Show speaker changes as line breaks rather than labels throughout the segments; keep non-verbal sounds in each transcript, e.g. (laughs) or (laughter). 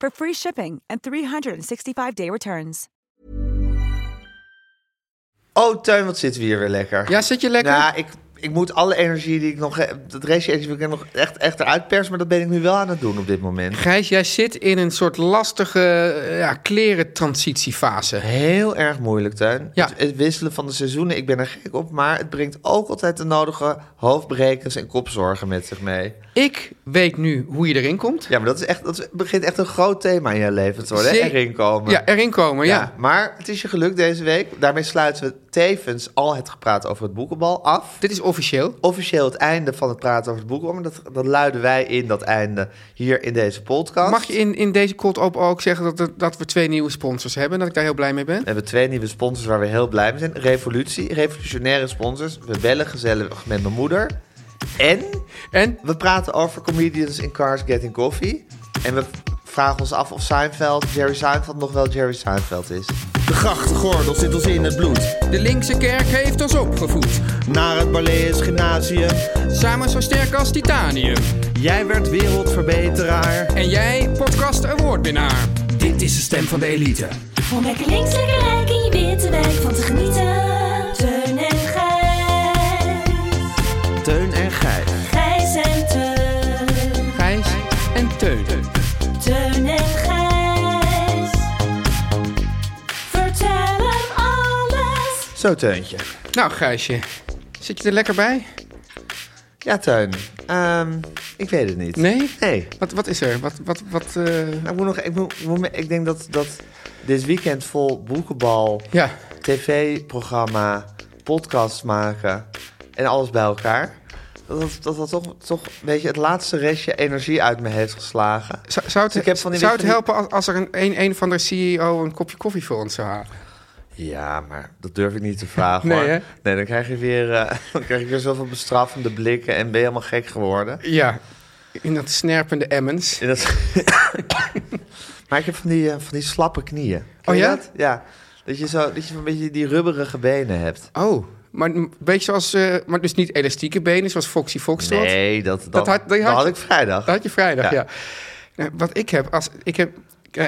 for free shipping and 365-day returns.
Oh, Tuin, wat zitten we hier weer lekker.
Ja, zit je lekker?
Nou, ik, ik moet alle energie die ik nog heb, dat restje energie die ik nog echt, echt eruit pers, maar dat ben ik nu wel aan het doen op dit moment.
Gijs, jij zit in een soort lastige eh, ja, klerentransitiefase.
Heel erg moeilijk, Tuin.
Ja.
Het, het wisselen van de seizoenen, ik ben er gek op, maar het brengt ook altijd de nodige hoofdbrekers en kopzorgen met zich mee.
Ik weet nu hoe je erin komt.
Ja, maar dat, is echt, dat is- begint echt een groot thema in je leven te worden, hè?
Zeker.
erin komen.
Ja, erin komen, ja.
Ja, maar het is je geluk deze week. Daarmee sluiten we tevens al het gepraat over het boekenbal af.
Dit is officieel.
officieel het einde van het praten over het boek. Maar dat, dat luiden wij in dat einde hier in deze podcast.
Mag je in, in deze cold open ook zeggen dat, er- dat we twee nieuwe sponsors hebben? en Dat ik daar heel blij mee ben?
We hebben twee nieuwe sponsors waar we heel blij mee zijn. Revolutie, revolutionaire sponsors. We bellen gezellig met mijn moeder. En
En?
we praten over comedians in cars getting coffee. En we vragen ons af of Seinfeld, Jerry Seinfeld nog wel Jerry Seinfeld is.
De grachtgordel zit ons in het bloed.
De linkse kerk heeft ons opgevoed.
Naar het Balees Gymnasium.
Samen zo sterk als titanium.
Jij werd wereldverbeteraar.
En jij, podcast awardwinnaar.
Dit is de stem van de elite.
Om lekker links, lekker rijk in je witte wijk van te genieten. Teun en Gijs.
Teun en Gijs.
Gijs en Teun.
Gijs en Teun.
Teun en Gijs. Vertel hem alles.
Zo, Teuntje.
Nou, Gijsje, zit je er lekker bij?
Ja, Teun. Ehm, ik weet het niet.
Nee?
Nee.
Wat, wat is er? Wat, wat, wat, eh,
Nou, ik, moet nog, ik, moet, ik, moet me- ik denk dat, dat dit weekend vol boekenbal...
Ja,
tv-programma, podcast maken en alles bij elkaar. Dat dat, dat toch, toch een beetje het laatste restje energie uit me heeft geslagen.
Zou, zou het,
Dus ik heb van die-
zou het
van die-
helpen als, als er een, een, een van de CEO een kopje koffie voor ons zou halen?
Ja, maar dat durf ik niet te vragen
(laughs) Nee,
hoor.
hè?
Nee, dan krijg, je weer, eh, (laughs) dan krijg je weer zoveel bestraffende blikken en ben je helemaal gek geworden.
Ja, in dat snerpende Emmens.
En (coughs) dat- maar ik heb van die, eh, van die slappe knieën. Ken
Oh,
je
ja?
Dat? Ja. Dat je, zo, dat je een beetje die rubberige benen hebt.
Oh, maar een beetje zoals, eh, maar dus niet elastieke benen, zoals Foxy Foxtrot.
Nee, dat, dat,
Dat had- die
dat
had
had
je-
ik vrijdag.
Dat had je
Ja.
vrijdag, ja. Nou, wat ik heb, als, ik heb... eh,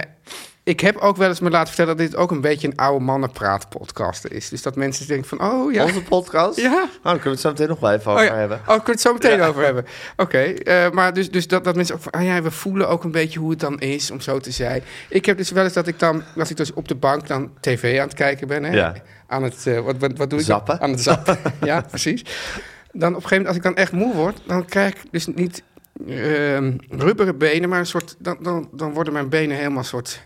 ik heb ook wel eens me laten vertellen dat dit ook een beetje een oude mannenpraatpodcast is. Dus dat mensen denken van, oh ja.
Onze podcast?
Ja.
Nou, dan kunnen we het zo meteen nog wel even over
Oh, ja.
hebben.
Oh, kunnen we het zo meteen over hebben. Oké, eh, maar dus, dus dat, dat mensen ook van... Ah ja, we voelen ook een beetje hoe het dan is, om zo te zijn. Ik heb dus wel eens dat ik dan... Dat ik dus op de bank dan tv aan het kijken ben. Hè?
Ja.
Aan het... eh, wat, wat, wat doe ik?
Zappen.
Aan het zappen. ja, precies. Dan op een gegeven moment, als ik dan echt moe word... dan krijg ik dus niet ehm rubberen benen, maar een soort... Dan, dan, dan worden mijn benen helemaal soort...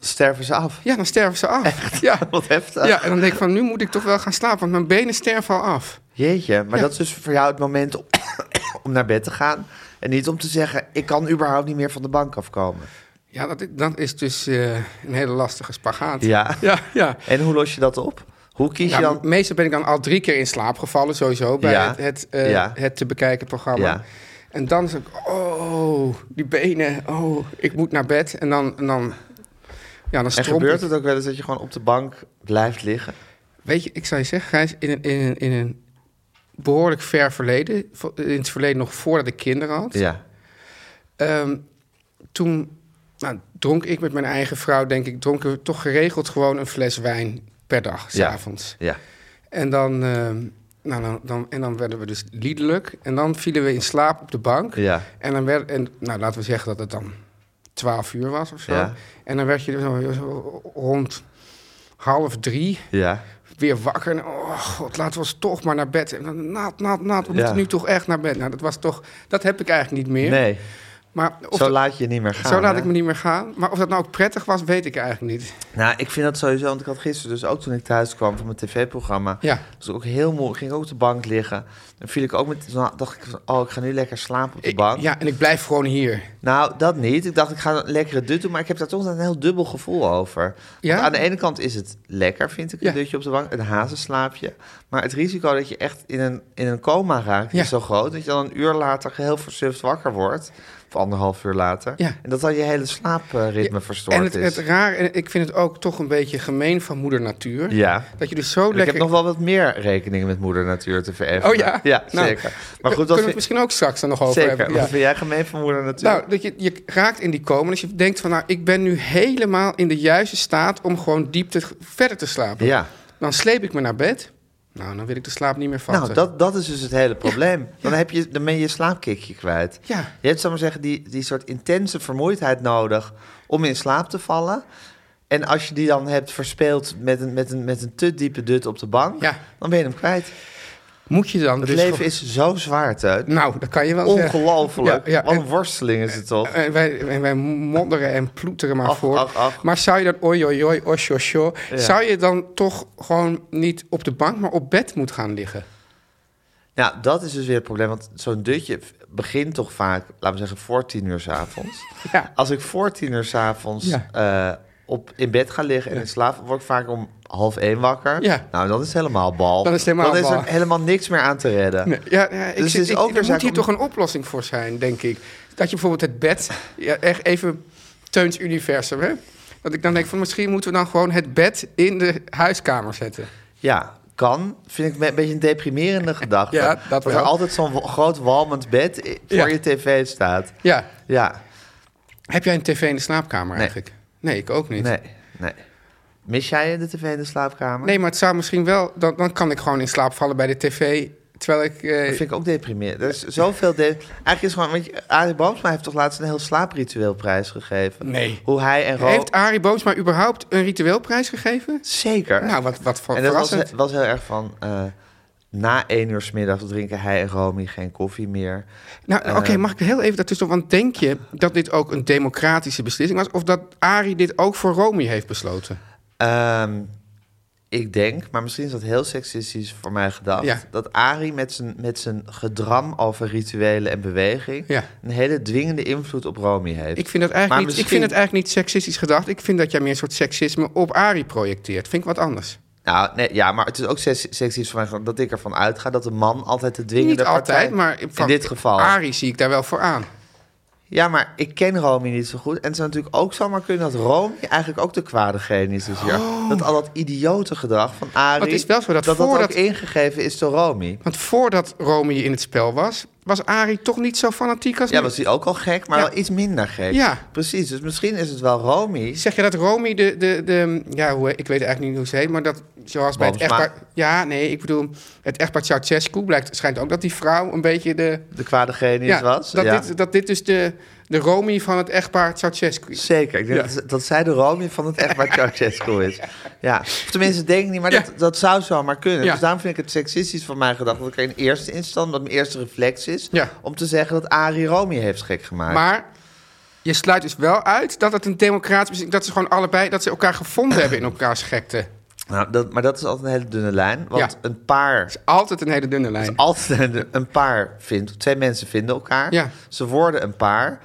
Sterven ze af. (laughs)
Ja, dan sterven ze af. Ja.
Wat heftig.
ja, en dan denk ik van... Nu moet ik toch wel gaan slapen, want mijn benen sterven al af.
Jeetje, maar
Ja.
dat is dus voor jou het moment om, (coughs) om naar bed te gaan. En niet om te zeggen, ik kan überhaupt niet meer van de bank afkomen.
Ja, dat, i- dat is dus eh, een hele lastige spagaat.
Ja.
ja. ja.
En hoe los je dat op? Hoe kies
Ja,
je dan...
meestal ben ik dan al drie keer in slaap gevallen, sowieso, bij
Ja.
het, het, eh,
Ja.
het te bekijken programma.
Ja.
En dan zeg ik, oh, die benen, oh, ik moet naar bed. En dan, en dan, ja, dan
En
strompel
gebeurt
ik.
het ook wel eens dat je gewoon op de bank blijft liggen?
Weet je, ik zou je zeggen, Gijs, in een, in een, in een behoorlijk ver verleden, vo- in het verleden nog voordat ik kinderen had,
Ja.
Ehm, toen nou, dronk ik met mijn eigen vrouw, denk ik, dronken we toch geregeld gewoon een fles wijn per dag,
Ja.
s'avonds.
Ja.
En dan, ehm, nou, dan, dan, en dan werden we dus liedelijk. En dan vielen we in slaap op de bank.
Ja.
En dan werd, en, nou, laten we zeggen dat het dan 12 uur was of zo.
Ja.
En dan werd je zo, zo rond half drie
Ja.
weer wakker. En, oh god, laten we eens toch maar naar bed. En dan, nat, nat, nat, we
Ja.
moeten nu toch echt naar bed. Nou, dat was toch... Dat heb ik eigenlijk niet meer.
Nee,
Maar of
zo
dat-
laat je niet meer gaan.
zo laat
hè?
ik me niet meer gaan. Maar of dat nou ook prettig was, weet ik eigenlijk niet.
Nou, ik vind dat sowieso, want ik had gisteren dus ook toen ik thuis kwam van mijn tv-programma,
Ja.
was ik ook heel moe, ging ik ook op de bank liggen. Dan viel ik ook met, dan dacht ik van, oh, ik ga nu lekker slapen op de
Ik-
bank.
Ja, en ik blijf gewoon hier.
Nou, dat niet. Ik dacht, ik ga een lekkere dut doen, maar ik heb daar toch een heel dubbel gevoel over.
Ja?
Want aan de ene kant is het lekker, vind ik, een
Ja.
dutje op de bank, een hazenslaapje. Maar het risico dat je echt in een, in een coma raakt
Ja.
is zo groot, dat je dan een uur later geheel versuft wakker wordt. Of anderhalf uur later.
Ja.
En dat dan je hele slaapritme verstoord
En het,
is.
het raar, en ik vind het ook toch een beetje gemeen van moeder natuur.
Ja.
Dat je dus zo
Ik
lekker...
heb nog wel wat meer rekeningen met moeder natuur te vereffenen.
Oh ja?
Ja,
Nou,
zeker. Maar goed,
kunnen
wat
we het
vind,
misschien ook straks dan nog over
zeker.
hebben.
Wat vind jij gemeen van moeder natuur?
Nou, dat je, je raakt in die komen. Dus je denkt van, nou, ik ben nu helemaal in de juiste staat om gewoon diep te, verder te slapen.
ja.
Dan sleep ik me naar bed. Nou, dan wil ik de slaap niet meer vatten.
Nou, dat, dat is dus het hele probleem. Dan, heb je, dan ben je je slaapkickje kwijt.
Ja.
Je hebt, zal ik maar zeggen, die, die soort intense vermoeidheid nodig om in slaap te vallen. En als je die dan hebt verspeeld met een, met een, met een te diepe dut op de bank,
Ja. Dus
dan ben je hem kwijt.
Moet je dan
Het
dus
leven
gewoon-
is zo zwaar, Teun.
Nou, dat kan je wel zeggen.
Ongelooflijk.
Ja, ja,
Wat
en-
een worsteling is het toch?
En Eh, wij, en wij modderen en ploeteren maar
Ach,
voor.
ach, ach.
Maar zou je dan, oi, oi, oi, osjo, osjo,
Ja.
zou je dan toch gewoon niet op de bank, maar op bed moeten gaan liggen?
Nou, dat is dus weer het probleem. Want zo'n dutje v- begint toch vaak, laten we zeggen, voor tien uur s'avonds.
(laughs) Ja.
Als ik voor tien uur s'avonds
Ja.
eh, op in bed ga liggen en in slaap, word ik vaak om half één wakker.
Ja.
Nou, dan is het helemaal bal.
Dan is het helemaal
dan is er
bal.
helemaal niks meer aan te redden.
Nee, ja, ja, ik
Dus
zit-
het is
ik-
ook weer
er moet
zaak
hier
om-
toch een oplossing voor zijn, denk ik. Dat je bijvoorbeeld het bed, ja, echt even Teuns universum, hè? Dat ik dan denk van misschien moeten we dan gewoon het bed in de huiskamer zetten.
Ja, kan. Vind ik me- een beetje een
(laughs)
deprimerende gedachte.
Ja, dat
er
wel.
altijd zo'n wa- groot walmend bed i- voor
Ja.
je tv staat.
Ja,
Ja,
heb jij een tv in de slaapkamer
Nee.
eigenlijk? Nee, ik ook niet.
nee, nee. Mis jij de tv in de slaapkamer?
Nee, maar het zou misschien wel, dan, dan kan ik gewoon in slaap vallen bij de tv, terwijl ik... eh,
Dat vind ik ook deprimerend. Er is zoveel... De... Eigenlijk is gewoon... Want je- Arie Boomsma heeft toch laatst een heel slaapritueel prijs gegeven?
Nee.
Hoe hij en Ro...
Heeft Arie Boomsma überhaupt een ritueelprijs gegeven?
Zeker.
Nou, wat, wat ver-
en dat was,
verrassend.
was heel erg van... eh, na één uur 's middags drinken hij en Romy geen koffie meer.
Nou, oké,
Ehm.
mag ik heel even daartussen? Want denk je dat dit ook een democratische beslissing was? Of dat Arie dit ook voor Romy heeft besloten?
Ehm, ik denk, maar misschien is dat heel seksistisch voor mij gedacht...
Ja.
dat Arie met zijn, met zijn gedram over rituelen en beweging...
Ja.
een hele dwingende invloed op Romy heeft.
Ik vind, dat
Maar
eigenlijk niet, ik
misschien-
vind het eigenlijk niet seksistisch gedacht. Ik vind dat jij meer een soort seksisme op Arie projecteert. Vind ik wat anders.
Nou, nee, ja, maar het is ook seks- seksistisch van mij dat ik ervan uitga dat de man altijd de dwingende
niet altijd,
partij-
maar
in dit geval.
Arie zie ik daar wel voor aan.
Ja, maar ik ken Romy niet zo goed. En het zou natuurlijk ook zomaar kunnen dat Romy eigenlijk ook de kwadegene is dus hier. Dat al dat idiote gedrag van Arie,
Maar het Oh. is wel zo dat
ook
voordat-
ingegeven is door Romy.
Want voordat Romy in het spel was, was Arie toch niet zo fanatiek als
Ja,
nu.
was hij ook al gek, maar
Ja.
wel iets minder gek.
Ja.
Precies, dus misschien is het wel Romy.
Zeg je dat Romy de, de, de ja, hoe, ik weet eigenlijk niet hoe ze heet, maar dat zoals bij het
Boomsma.
echtpaar, ja, nee, ik bedoel, het echtpaar Ceausescu blijkt, schijnt ook dat die vrouw een beetje de,
De kwadegene
ja,
is was.
dat,
ja.
Dit, dat dit dus de, de Romy van het echtpaar Ceausescu is.
Zeker. Ik denk
Ja.
dat, ze- dat zij de Romy van het echt waar Ceausescu
(laughs)
is. Ja. Of tenminste, denk ik niet, maar dat, dat zou zo maar kunnen.
Ja.
Dus daarom vind ik het seksistisch van mij gedacht. Dat ik in eerste instantie, dat mijn eerste reflex is...
Ja.
om te zeggen dat Arie Romy heeft gek gemaakt.
Maar je sluit dus wel uit dat het een democratisch beslissing, dat ze gewoon allebei, dat ze elkaar gevonden hebben in elkaars gekte.
Nou, dat, maar dat is altijd een hele dunne lijn. Want
Ja.
een paar...
Altijd een hele dunne lijn.
Altijd (laughs) een- een paar vindt... Twee mensen vinden elkaar.
Ja.
Ze worden een paar.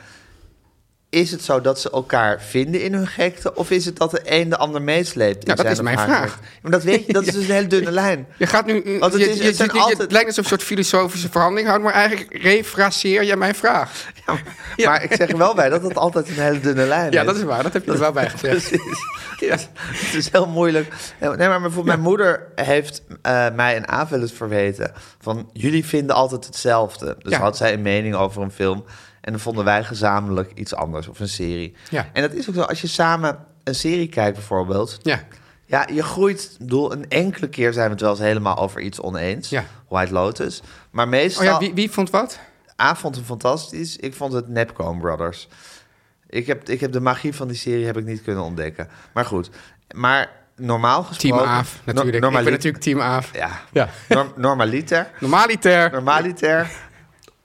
Is het zo dat ze elkaar vinden in hun gekte? Of is het dat de een de ander meesleept? in
Ja, dat
zijn
is
of
mijn
haar
vraag.
gekte? Maar dat, weet je,
(laughs)
dat is dus een hele dunne lijn.
Je gaat nu, eh,
Want het
je,
is-
je-
het zijn
je- je-
altijd-
het lijkt alsof je een soort filosofische verhandeling houdt, maar eigenlijk refraseer jij mijn vraag.
Ja, maar, Nou, maar ik zeg er wel bij dat het altijd een hele dunne lijn is.
Ja, dat is waar. Dat heb je er wel
(laughs)
bij gezegd.
Precies.
Ja.
Het is heel moeilijk. Nee, maar bijvoorbeeld mijn moeder heeft eh, mij een aanvullend verweten. Van, jullie vinden altijd hetzelfde. Dus
Ja.
had zij een mening over een film. En dan vonden wij gezamenlijk iets anders. Of een serie.
Ja.
En dat is ook zo. Als je samen een serie kijkt bijvoorbeeld.
Ja.
Ja, je groeit. Ik bedoel, een enkele keer zijn we het wel eens helemaal over iets oneens.
Ja.
White Lotus. Maar
Oh
meestal...
ja, wie, wie vond wat?
A vond hem fantastisch. Ik vond het Nepcom Brothers. Ik heb, ik heb de magie van die serie heb ik niet kunnen ontdekken. Maar goed, maar normaal
Team
gesproken...
Aaf,
no-
natuurlijk. ik ben
normali-
natuurlijk Team Aaf.
Ja,
Ja.
norm- normaliter.
Normaliter.
Normaliter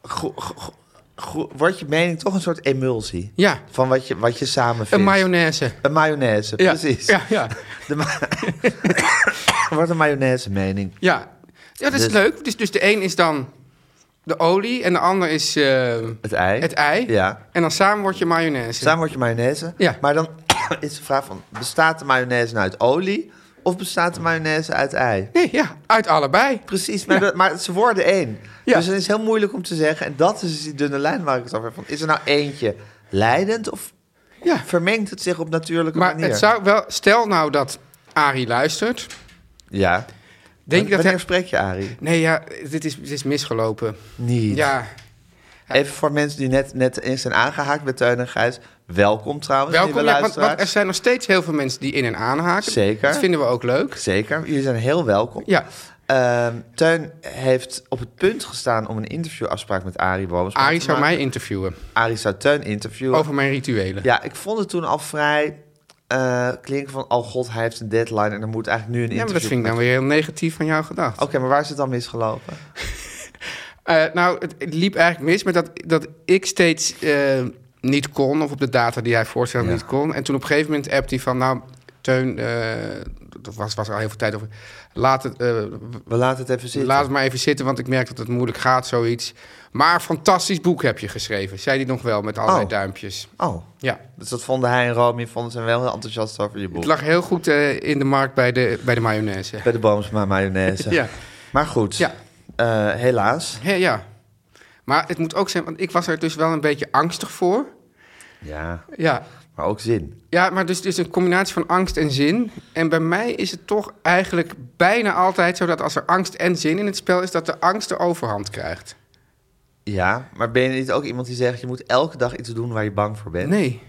go- go- go- wordt je mening toch een soort emulsie
Ja,
van wat je, wat je samen
een
vindt.
mayonaise.
Een mayonaise,
Ja,
precies.
Ja, ja.
De
(laughs)
ma- (coughs) wordt een mayonaise mening.
ja. ja dat is
Dus-
leuk. Dus, dus de een is dan de olie en de ander is eh,
Het ei.
het ei.
Ja.
En dan samen word je mayonaise.
Samen wordt je mayonaise.
Ja.
Maar dan (coughs) is de vraag van, bestaat de mayonaise nou uit olie of bestaat de mayonaise uit ei?
Nee, ja, uit allebei.
Precies, maar, dat- maar ze worden één.
Ja.
Dus het is heel moeilijk om te zeggen. En dat is dus die dunne lijn waar ik het over heb. Van, is er nou eentje leidend of
Ja.
vermengt het zich op natuurlijke
Maar
manier?
het zou wel... Stel nou dat Arie luistert.
Ja.
Denk je dat
Wanneer
hij...
spreek je, Arie?
Nee, ja, dit is, dit is misgelopen.
Niet.
Ja,
Even voor mensen die net, net in zijn aangehaakt bij Teun en Gijs. Welkom trouwens,
welkom.
lieve
Ja, want, want er
luisteraars.
zijn nog steeds heel veel mensen die in en aanhaken.
Zeker.
Dat vinden we ook leuk.
Zeker, jullie zijn heel welkom.
Ja,
Ehm, Teun heeft op het punt gestaan om een interviewafspraak met Arie Boomsma
Arie
te
zou
maken.
mij interviewen
Arie zou Teun interviewen.
over mijn rituelen.
Ja, ik vond het toen al vrij eh, klinken van... oh god, hij heeft een deadline en er moet eigenlijk nu een
Ja, maar
interview...
dat vind ik dan
gemaakt
weer heel negatief van jou gedacht.
worden. Oké, maar waar is het dan misgelopen?
Eh, nou, het, het liep eigenlijk mis met dat, dat ik steeds eh, niet kon... of op de data die hij voorstelde
Ja.
niet kon. En toen op een gegeven moment appt hij van... nou, Teun, eh, dat was, was er al heel veel tijd over... laat het, eh,
We laten het even zitten.
laat het maar even zitten, want ik merk dat het moeilijk gaat, zoiets. Maar fantastisch boek heb je geschreven, zei hij nog wel met allerlei
Oh.
duimpjes.
Oh,
Ja,
dus dat vonden hij en Romy vonden zijn wel heel enthousiast over je boek.
het lag heel goed eh, in de markt bij de, bij de mayonaise.
Bij de Boomsma mayonaise.
(laughs) Ja.
Maar goed,
Ja.
eh, helaas.
Hé, ja. Maar het moet ook zijn, want ik was er dus wel een beetje angstig voor.
Ja,
Ja,
maar ook zin.
ja maar dus, dus een combinatie van angst en zin. En bij mij is het toch eigenlijk bijna altijd zo dat als er angst en zin in het spel is, dat de angst de overhand krijgt.
Ja, maar ben je niet ook iemand die zegt... je moet elke dag iets doen waar je bang voor bent?
Nee,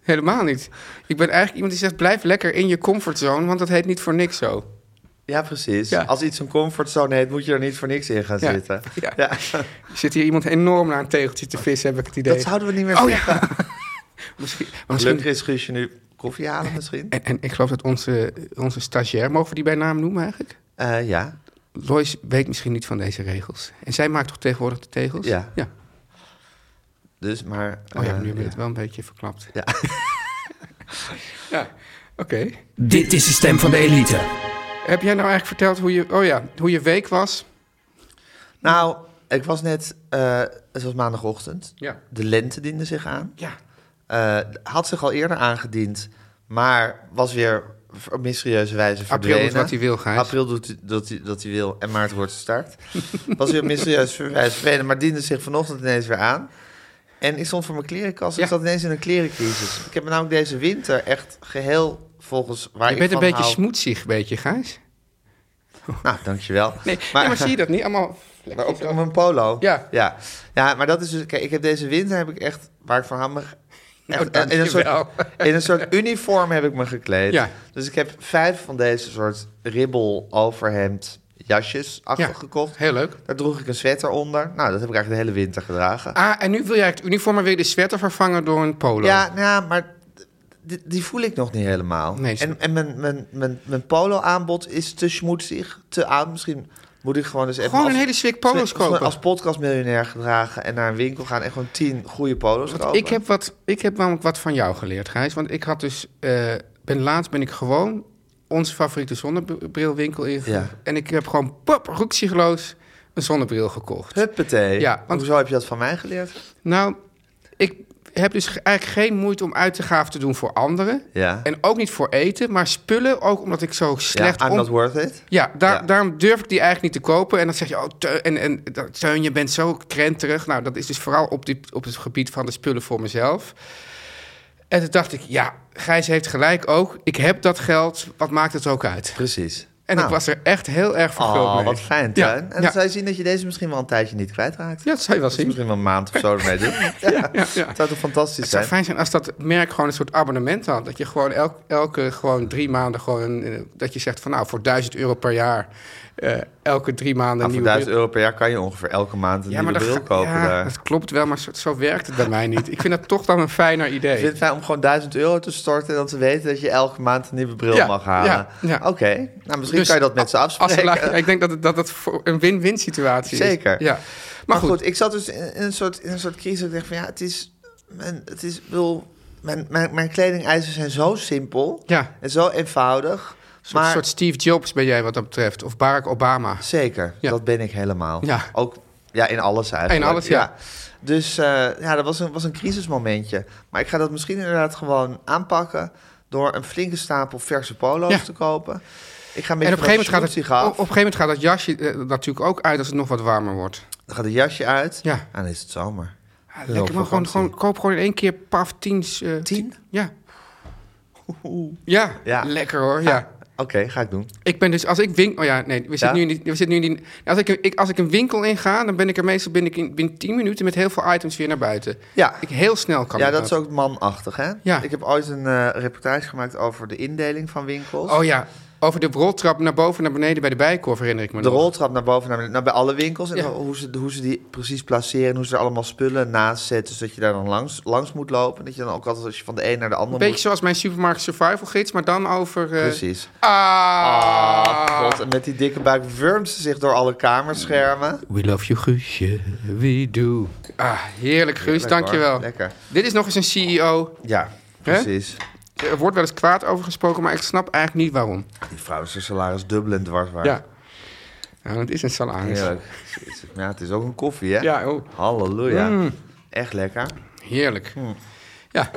helemaal niet. Ik ben eigenlijk iemand die zegt, blijf lekker in je comfortzone, want dat heet niet voor niks zo.
Ja, precies.
Ja.
Als iets een comfortzone heet, moet je er niet voor niks in gaan
Ja.
zitten.
Ja.
Ja.
(laughs) Er Zit hier iemand enorm naar een tegeltje te vissen, heb ik het idee.
Dat zouden we niet meer
Oh
zeggen.
ja. (laughs) misschien, maar
Gelukkig
misschien,
is Guusje nu koffie halen misschien.
en, en ik geloof dat onze, onze stagiair, mogen we die bij naam noemen eigenlijk?
Eh, ja.
Lois weet misschien niet van deze regels. En zij maakt toch tegenwoordig de tegels?
Ja.
ja.
Dus maar...
Oh ja,
eh,
nu heb ik het wel een beetje verklapt.
Ja.
(laughs) ja, oké.
Dit is de stem van de elite.
Heb jij nou eigenlijk verteld hoe je, oh ja, hoe je week was?
Nou, ik was net... eh, het was maandagochtend.
Ja.
De lente diende zich aan.
Ja.
Eh, had zich al eerder aangediend, maar was weer v- op mysterieuze wijze verdwenen.
doet wat hij wil, Gijs.
April doet dat hij, dat hij wil en maart wordt gestart. (laughs) was weer op mysterieuze wijze verdwenen, maar diende zich vanochtend ineens weer aan. En ik stond voor mijn klerenkast en
Ja.
ik zat ineens in een klerencrisis. Ik heb me namelijk deze winter echt geheel volgens waar
Je
ik
bent een
van
beetje
hou-
smoetsig, beetje, Gijs.
Nou, dankjewel.
Nee, nee, maar, zie je dat niet? Allemaal
Maar
vlekjes
op,
zo.
op een polo?
Ja.
ja. Ja, maar dat is dus... Kijk, ik heb deze winter heb ik echt... Waar ik van hou me...
(laughs) Nou,
echt- in, een soort,
dankjewel.
(laughs) in een soort uniform heb ik me gekleed.
Ja.
Dus ik heb vijf van deze soort ribbel overhemd jasjes achter
Ja,
gekocht.
Heel leuk.
Daar droeg ik een sweater onder. Nou, dat heb ik eigenlijk de hele winter gedragen.
Ah, en nu wil jij het uniform maar weer de sweater vervangen door een polo.
Ja, nou, ja, maar die, die voel ik nog niet helemaal.
Nee, snap
en en mijn, mijn, mijn, mijn polo-aanbod is te schmoedzig, te oud. Misschien moet ik gewoon eens even...
Gewoon een
als-
hele slik polo's
als- als-
kopen.
Als podcastmiljonair gedragen en naar een winkel gaan... en gewoon tien goede polo's
Want
kopen.
ik heb, wat, ik heb namelijk wat van jou geleerd, Gijs. Want ik had dus... eh, ben laatst ben ik gewoon onze favoriete zonnebrilwinkel ingegaan.
Ja.
En ik heb gewoon pop, roeksigloos een zonnebril gekocht.
Huppatee.
Ja, want-
Hoezo heb je dat van mij geleerd?
Nou, ik heb dus ge- eigenlijk geen moeite om uitgaven te doen voor anderen.
Ja.
En ook niet voor eten, maar spullen. Ook omdat ik zo slecht...
ja, I'm
om-
not worth it.
Ja, daar,
Ja.
daarom durf ik die eigenlijk niet te kopen. En dan zeg je, oh, Teu- en, en, dat- Teun, je bent zo krenterig. Nou, dat is dus vooral op, die, op het gebied van de spullen voor mezelf. En toen dacht ik, ja, Gijs heeft gelijk ook. Ik heb dat geld, wat maakt het ook uit?
Precies.
En
Nou.
ik was er echt heel erg verguld
Oh,
mee.
wat fijn,
Ja,
Tuin. En
ja.
dan zou je zien dat je deze misschien wel een tijdje niet kwijtraakt.
Ja, dat zou je wel
Dat is
zien.
misschien wel een maand of zo
(laughs)
ermee doen. Ja,
ja.
Het zou toch fantastisch
Het
zijn?
zou fijn zijn als dat merk gewoon een soort abonnement had. Dat je gewoon elk, elke gewoon drie maanden gewoon... eh, Dat je zegt van nou, voor 1000 euro per jaar... eh, elke drie maanden
Nou,
een
voor
nieuwe
1000 euro per jaar kan je ongeveer elke maand een nieuwe bril
ga-
kopen
ja,
daar.
dat klopt wel, maar zo, zo werkt het bij mij niet. Ik vind dat toch dan een fijner idee.
Ik vind het fijn om gewoon 1000 euro te storten... en dat ze weten dat je elke maand een nieuwe bril
Ja,
mag halen.
ja, ja.
Oké, nou misschien
Dus
kan je dat met ze
Als
afspreken.
ze laten- ik denk dat het, dat het voor een win-win situatie is.
Zeker.
Ja. (laughs) Maar,
Maar
goed,
goed, ik zat dus in, in een, soort, in een soort crisis. Ik dacht van ja, het is. Mijn, het is ik bedoel, mijn, mijn, mijn kledingeisen zijn zo simpel
Ja.
en zo eenvoudig.
een
maar
soort Steve Jobs ben jij wat dat betreft. Of Barack Obama.
zeker,
Ja.
dat ben ik helemaal.
Ja.
Ook ja, in alles eigenlijk.
In alles, ja.
Dus eh, ja, dat was een, was een crisismomentje. Maar ik ga dat misschien inderdaad gewoon aanpakken door een flinke stapel verse polo's
Ja.
te kopen. Ik ga een
En
beetje
op een, gegeven moment gaat het,
gaat
op een gegeven moment gaat dat jasje eh, natuurlijk ook uit als het nog wat warmer wordt.
Dan gaat het jasje uit
Ja.
en dan is het zomer.
Lekker, maar gewoon,
vakantie.
gewoon, koop gewoon in één keer paf tien. eh,
Tien?
Ja. ja.
Ja. Ah,
lekker hoor. Ja.
Oké, ga ik doen.
Ik ben dus, als ik winkel... Oh ja, nee, we zitten
Ja?
nu niet... We zitten nu niet als, ik, ik, als ik een winkel inga, dan ben ik er meestal binnen, in- binnen 10 minuten met heel veel items weer naar buiten.
Ja.
Ik heel snel kan
Ja,
ik
dat is ook manachtig, hè?
Ja.
Ik heb ooit een eh, reportage gemaakt over de indeling van winkels.
Oh ja, over de roltrap naar boven en naar beneden bij de bijkorf herinner ik me
De
nog.
roltrap naar boven, naar, beneden, nou, bij alle winkels. En
Ja.
hoe, ze, hoe ze die precies placeren, hoe ze er allemaal spullen naast zetten... zodat je daar dan langs, langs moet lopen. Dat je dan ook altijd als je van de een naar de ander
Een beetje
moet...
zoals mijn supermarkt survival gids, maar dan over... eh,
Precies.
Ah!
Ah, God. En met die dikke buik wurmt ze zich door alle kamerschermen.
We love you, Guusje. We do. Ah, heerlijk, Guus.
Lekker,
Dankjewel.
hoor. Lekker.
Dit is nog eens een CEO.
Ja, precies.
Er wordt wel eens kwaad over gesproken, maar ik snap eigenlijk niet waarom.
Die vrouw is haar salaris dubbel en dwars waard.
Ja. Nou, het is een salaris.
Heerlijk. Jezus. Ja, het is ook een koffie, hè?
Ja, oh.
Halleluja. Echt lekker.
Heerlijk.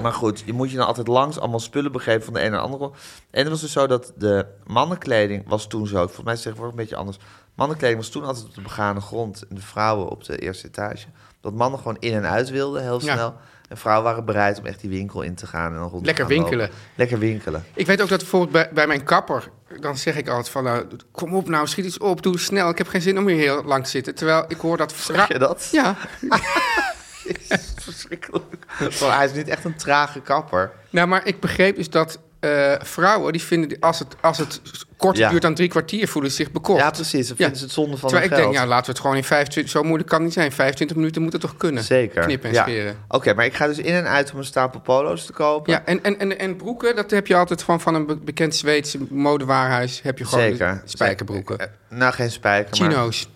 Maar goed, je moet je dan altijd langs allemaal spullen begeven van de een naar de andere. En het was dus zo dat de mannenkleding was toen zo. Volgens mij is het tegenwoordig een beetje anders. Mannenkleding was toen altijd op de begane grond en de vrouwen op de eerste etage. Dat mannen gewoon in en uit wilden, heel
Ja.
snel. En vrouwen waren bereid om echt die winkel in te gaan en dan rond te
Lekker
gaan lopen.
winkelen.
Lekker winkelen.
Ik weet ook dat bijvoorbeeld bij, bij mijn kapper, dan zeg ik altijd van, nou, kom op nou, schiet iets op, doe snel. Ik heb geen zin om hier heel lang te zitten. Terwijl ik hoor dat...
Zeg je dat? (laughs)
Ja.
Jezus, verschrikkelijk. Maar hij is niet echt een trage kapper.
Nou, maar ik begreep dus dat eh, vrouwen, die vinden, die- als het, als het korter
Ja.
duurt dan drie kwartier, voelen ze zich bekocht.
Ja, precies. Dan vinden ze het zonde van
Terwijl ik
hun
denk,
geld.
ja, laten we het gewoon in 25... Zo moeilijk kan het niet zijn. 25 minuten moet het toch kunnen?
Zeker.
Knippen en
ja.
scheren.
Oké, maar ik ga dus in en uit om een stapel polo's te kopen.
Ja, en, en, en, en broeken, dat heb je altijd van, van een be- bekend Zweedse modewaarhuis. Heb je gewoon
Zeker.
de spijkerbroeken.
Eh, Nou, geen spijker, maar...
Chino's.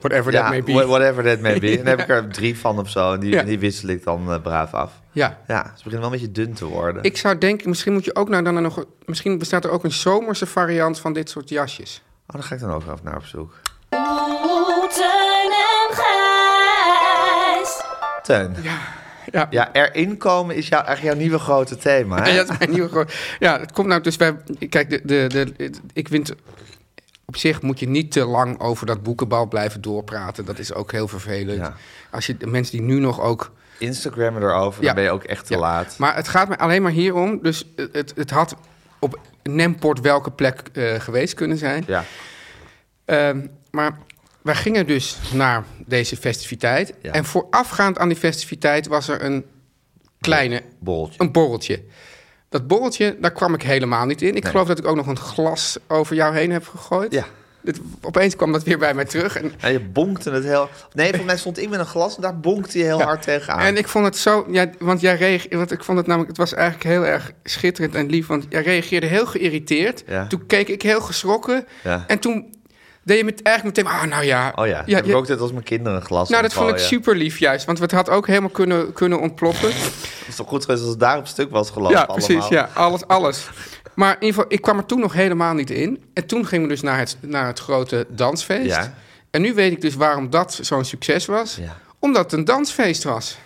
Whatever
Ja,
that may be.
wha- whatever that may be.
(laughs)
En dan heb ik er drie van of zo. En die,
Ja.
en die wissel ik dan eh, braaf af.
Ja.
Ja, ze beginnen wel een beetje dun te worden.
Ik zou denken, misschien moet je ook nou dan nog... Misschien bestaat er ook een zomerse variant van dit soort jasjes.
Oh, daar ga ik dan ook af naar op zoek.
Oeh, Oh, Teun en Gijs.
Teun.
Ja.
Ja, erin komen is jou, echt jouw nieuwe grote thema. Hè?
(laughs) Ja, dat is mijn nieuwe gro- Ja, het komt nou dus bij. Kijk, de, de, de, ik vind. Op zich moet je niet te lang over dat boekenbal blijven doorpraten. Dat is ook heel vervelend.
Ja.
Als je de mensen die nu nog ook.
Instagram erover, dan
Ja.
ben je ook echt te
Ja,
laat.
Maar het gaat me alleen maar hierom. Dus het, het had op Nemport welke plek eh, geweest kunnen zijn.
Ja,
Ehm, maar wij gingen dus naar deze festiviteit.
Ja.
En voorafgaand aan die festiviteit was er een kleine
boltje.
een borreltje. Dat borreltje, daar kwam ik helemaal niet in. Ik geloof dat ik ook nog een glas over jou heen heb gegooid.
Ja.
Dit, opeens kwam dat weer bij mij terug. En,
En je bonkte het heel... Nee, volgens mij stond ik met een glas en daar bonkte je heel hard tegenaan.
en ik vond het zo... Ja, want jij reageerde... Want ik vond het namelijk... Het was eigenlijk heel erg schitterend en lief. Want jij reageerde heel geïrriteerd.
Ja.
Toen keek ik heel geschrokken.
Ja.
En toen deed je met, eigenlijk meteen... Ah, nou ja.
Oh ja, heb ik
je-
ook dit als mijn kinderen een glas
nou, dat vond ik
omgooien.
super lief juist. Want het had ook helemaal kunnen, kunnen ontploppen.
Het is toch goed geweest als het daar op stuk was gelopen
Ja,
allemaal.
precies. Ja, alles, alles. Maar in ieder geval, ik kwam er toen nog helemaal niet in. En toen gingen we dus naar het, naar het grote dansfeest.
Ja.
En nu weet ik dus waarom dat zo'n succes was.
Ja.
Omdat het een dansfeest was.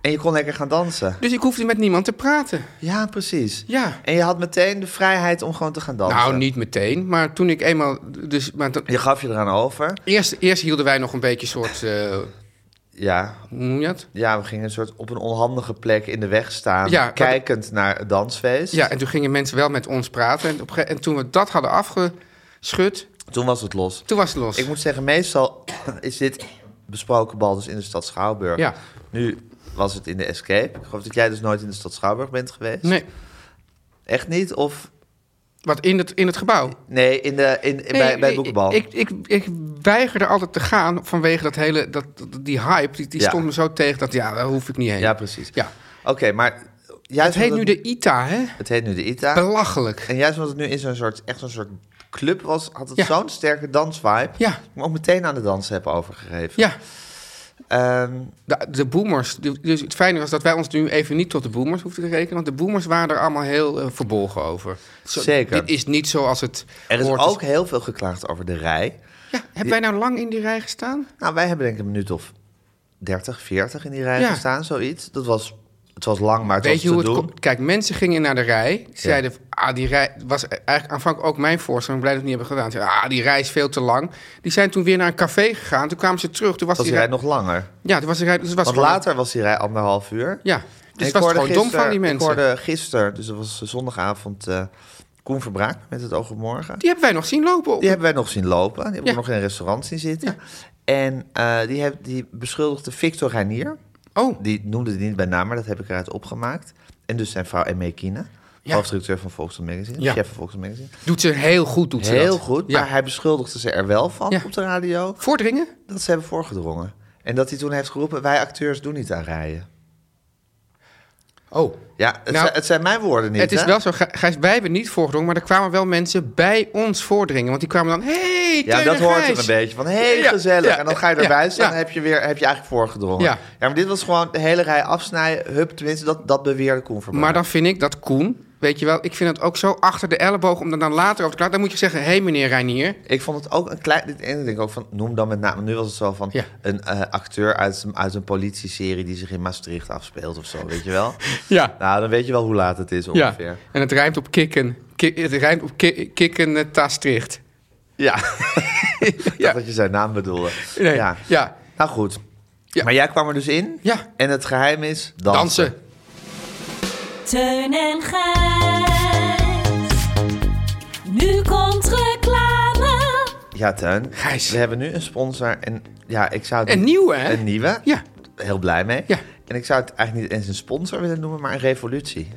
En je kon lekker gaan dansen.
Dus ik hoefde met niemand te praten.
Ja, precies.
Ja.
En je had meteen de vrijheid om gewoon te gaan dansen.
Nou, niet meteen. Maar toen ik eenmaal... Dus, maar dat-
Je gaf je eraan over.
eerst, eerst hielden wij nog een beetje soort... eh,
Ja.
hoe noem je dat?
Ja, we gingen een soort op een onhandige plek in de weg staan.
Ja, maar-
kijkend naar het dansfeest.
Ja, en toen gingen mensen wel met ons praten. En, op een gege- en toen we dat hadden afge... Schut.
Toen was het los.
Toen was het los.
Ik moet zeggen, meestal (coughs) is dit besproken bal dus in de stad Schouwburg.
Ja.
Nu was het in de Escape. Ik geloof dat jij dus nooit in de stad Schouwburg bent geweest.
Nee.
Echt niet? Of
Wat in het, in het gebouw?
nee, in de, in, in- bij, bij
ik-
Boekenbal.
Ik, ik, ik weiger er altijd te gaan vanwege dat hele, dat, die hype. Die, die
Ja.
stond me zo tegen dat, ja, daar hoef ik niet heen.
ja, precies.
Ja.
Oké, maar juist
Het heet nu
omdat-
de ITA, hè?
het heet nu de ITA.
Belachelijk.
En juist omdat het nu in zo'n soort, echt zo'n soort club was, had het
Ja.
zo'n sterke dansvibe.
Ja.
Dat ik me ook meteen aan de dans heb overgegeven.
Ja,
Ehm,
de, de boomers. de- Dus het fijne was dat wij ons nu even niet tot de boomers hoefden te rekenen. Want de boomers waren er allemaal heel eh, verbolgen over. Zo,
Zeker.
Dit is niet zoals het
er is
hoort.
ook heel veel geklaagd over de rij.
Ja, hebben wij nou lang in die rij gestaan?
Nou, wij hebben denk ik een minuut of 30, 40 in die rij
Ja.
gestaan, zoiets. Dat was, het was lang, maar het
Weet je
was
hoe
te
het
doen.
komt? Kijk, mensen gingen naar de rij. Zeiden, ah, die rij was eigenlijk aanvankelijk ook mijn voorstelling. Blij dat we het niet hebben gedaan. Zeiden, ah, die rij is veel te lang. Die zijn toen weer naar een café gegaan. Toen kwamen ze terug. Toen was,
was die
die rij...
rij nog langer.
Ja, toen was die rij... Dus het was
Want
gewoon-
later was die rij anderhalf uur.
Ja, dus
ik
het was
hoorde
gewoon dom van
gisteren-
die mensen.
Ik hoorde gisteren, dus dat was zondagavond, eh Koen Verbraak met het oog op morgen.
Die hebben wij nog zien lopen. op-
Die hebben wij nog zien lopen. Die hebben
Ja.
we nog in een restaurant zien zitten. En eh, die, heb, die beschuldigde Victor Reinier.
Oh,
Die noemde het niet bij naam, maar dat heb ik eruit opgemaakt. En dus zijn vrouw Emme Kine. Hoofdredacteur van Volkswagen Magazine.
Ja.
Chef van Volkswagen Magazine.
doet ze heel goed. Doet ze
Heel
dat.
goed,
Ja.
maar hij beschuldigde ze er wel van
Ja.
op de radio.
Voordringen?
Dat ze hebben voorgedrongen. En dat hij toen heeft geroepen, wij acteurs doen niet aan rijden.
Oh.
Ja, het,
Nou,
zijn, het zijn mijn woorden niet,
Het is
hè?
wel zo, Gij- Gijs, wij hebben niet voorgedrongen, maar er kwamen wel mensen bij ons voordringen. Want die kwamen dan, hey,
Ja,
Teun
dat
en
hoort
Gijs.
er een beetje van. Heel
Ja,
gezellig.
ja,
en dan ga je
ja,
erbij staan
ja.
en heb je, weer, heb je eigenlijk voorgedrongen.
Ja.
Ja. maar dit was gewoon de hele rij afsnijden. Hup, tenminste, dat, dat beweerde Koen Verbraak.
Maar dan vind ik dat Koen, weet je wel, ik vind het ook zo achter de elleboog om er dan later over te klagen. Dan moet je zeggen, hé hey, meneer Reinier.
Ik vond het ook een klein... Dit ene denk ik ook van, noem dan met name... Nu was het zo van
Ja.
een eh, acteur uit, een- uit een politieserie... die zich in Maastricht afspeelt of zo, weet je
(laughs)
wel?
Ja.
Nou, dan weet je wel hoe laat het is ongeveer.
Ja. En het rijmt op kikken. Ki- het rijmt op ki- kikken eh, Taastricht.
Ja. Ik dacht (laughs)
Ja.
dat je zijn naam bedoelde.
Nee,
Ja.
ja.
Nou goed.
Ja.
Maar jij kwam er dus in.
Ja.
En het geheim is dansen.
Dansen.
Teun en Gijs. Nu komt reclame.
Ja, Tuin.
Gijs.
We hebben nu een sponsor. En ja, ik zou... het
Een
niet-
nieuwe, hè?
Een nieuwe.
Ja.
Heel blij mee.
Ja.
En ik zou het eigenlijk niet eens een sponsor willen noemen, maar een revolutie.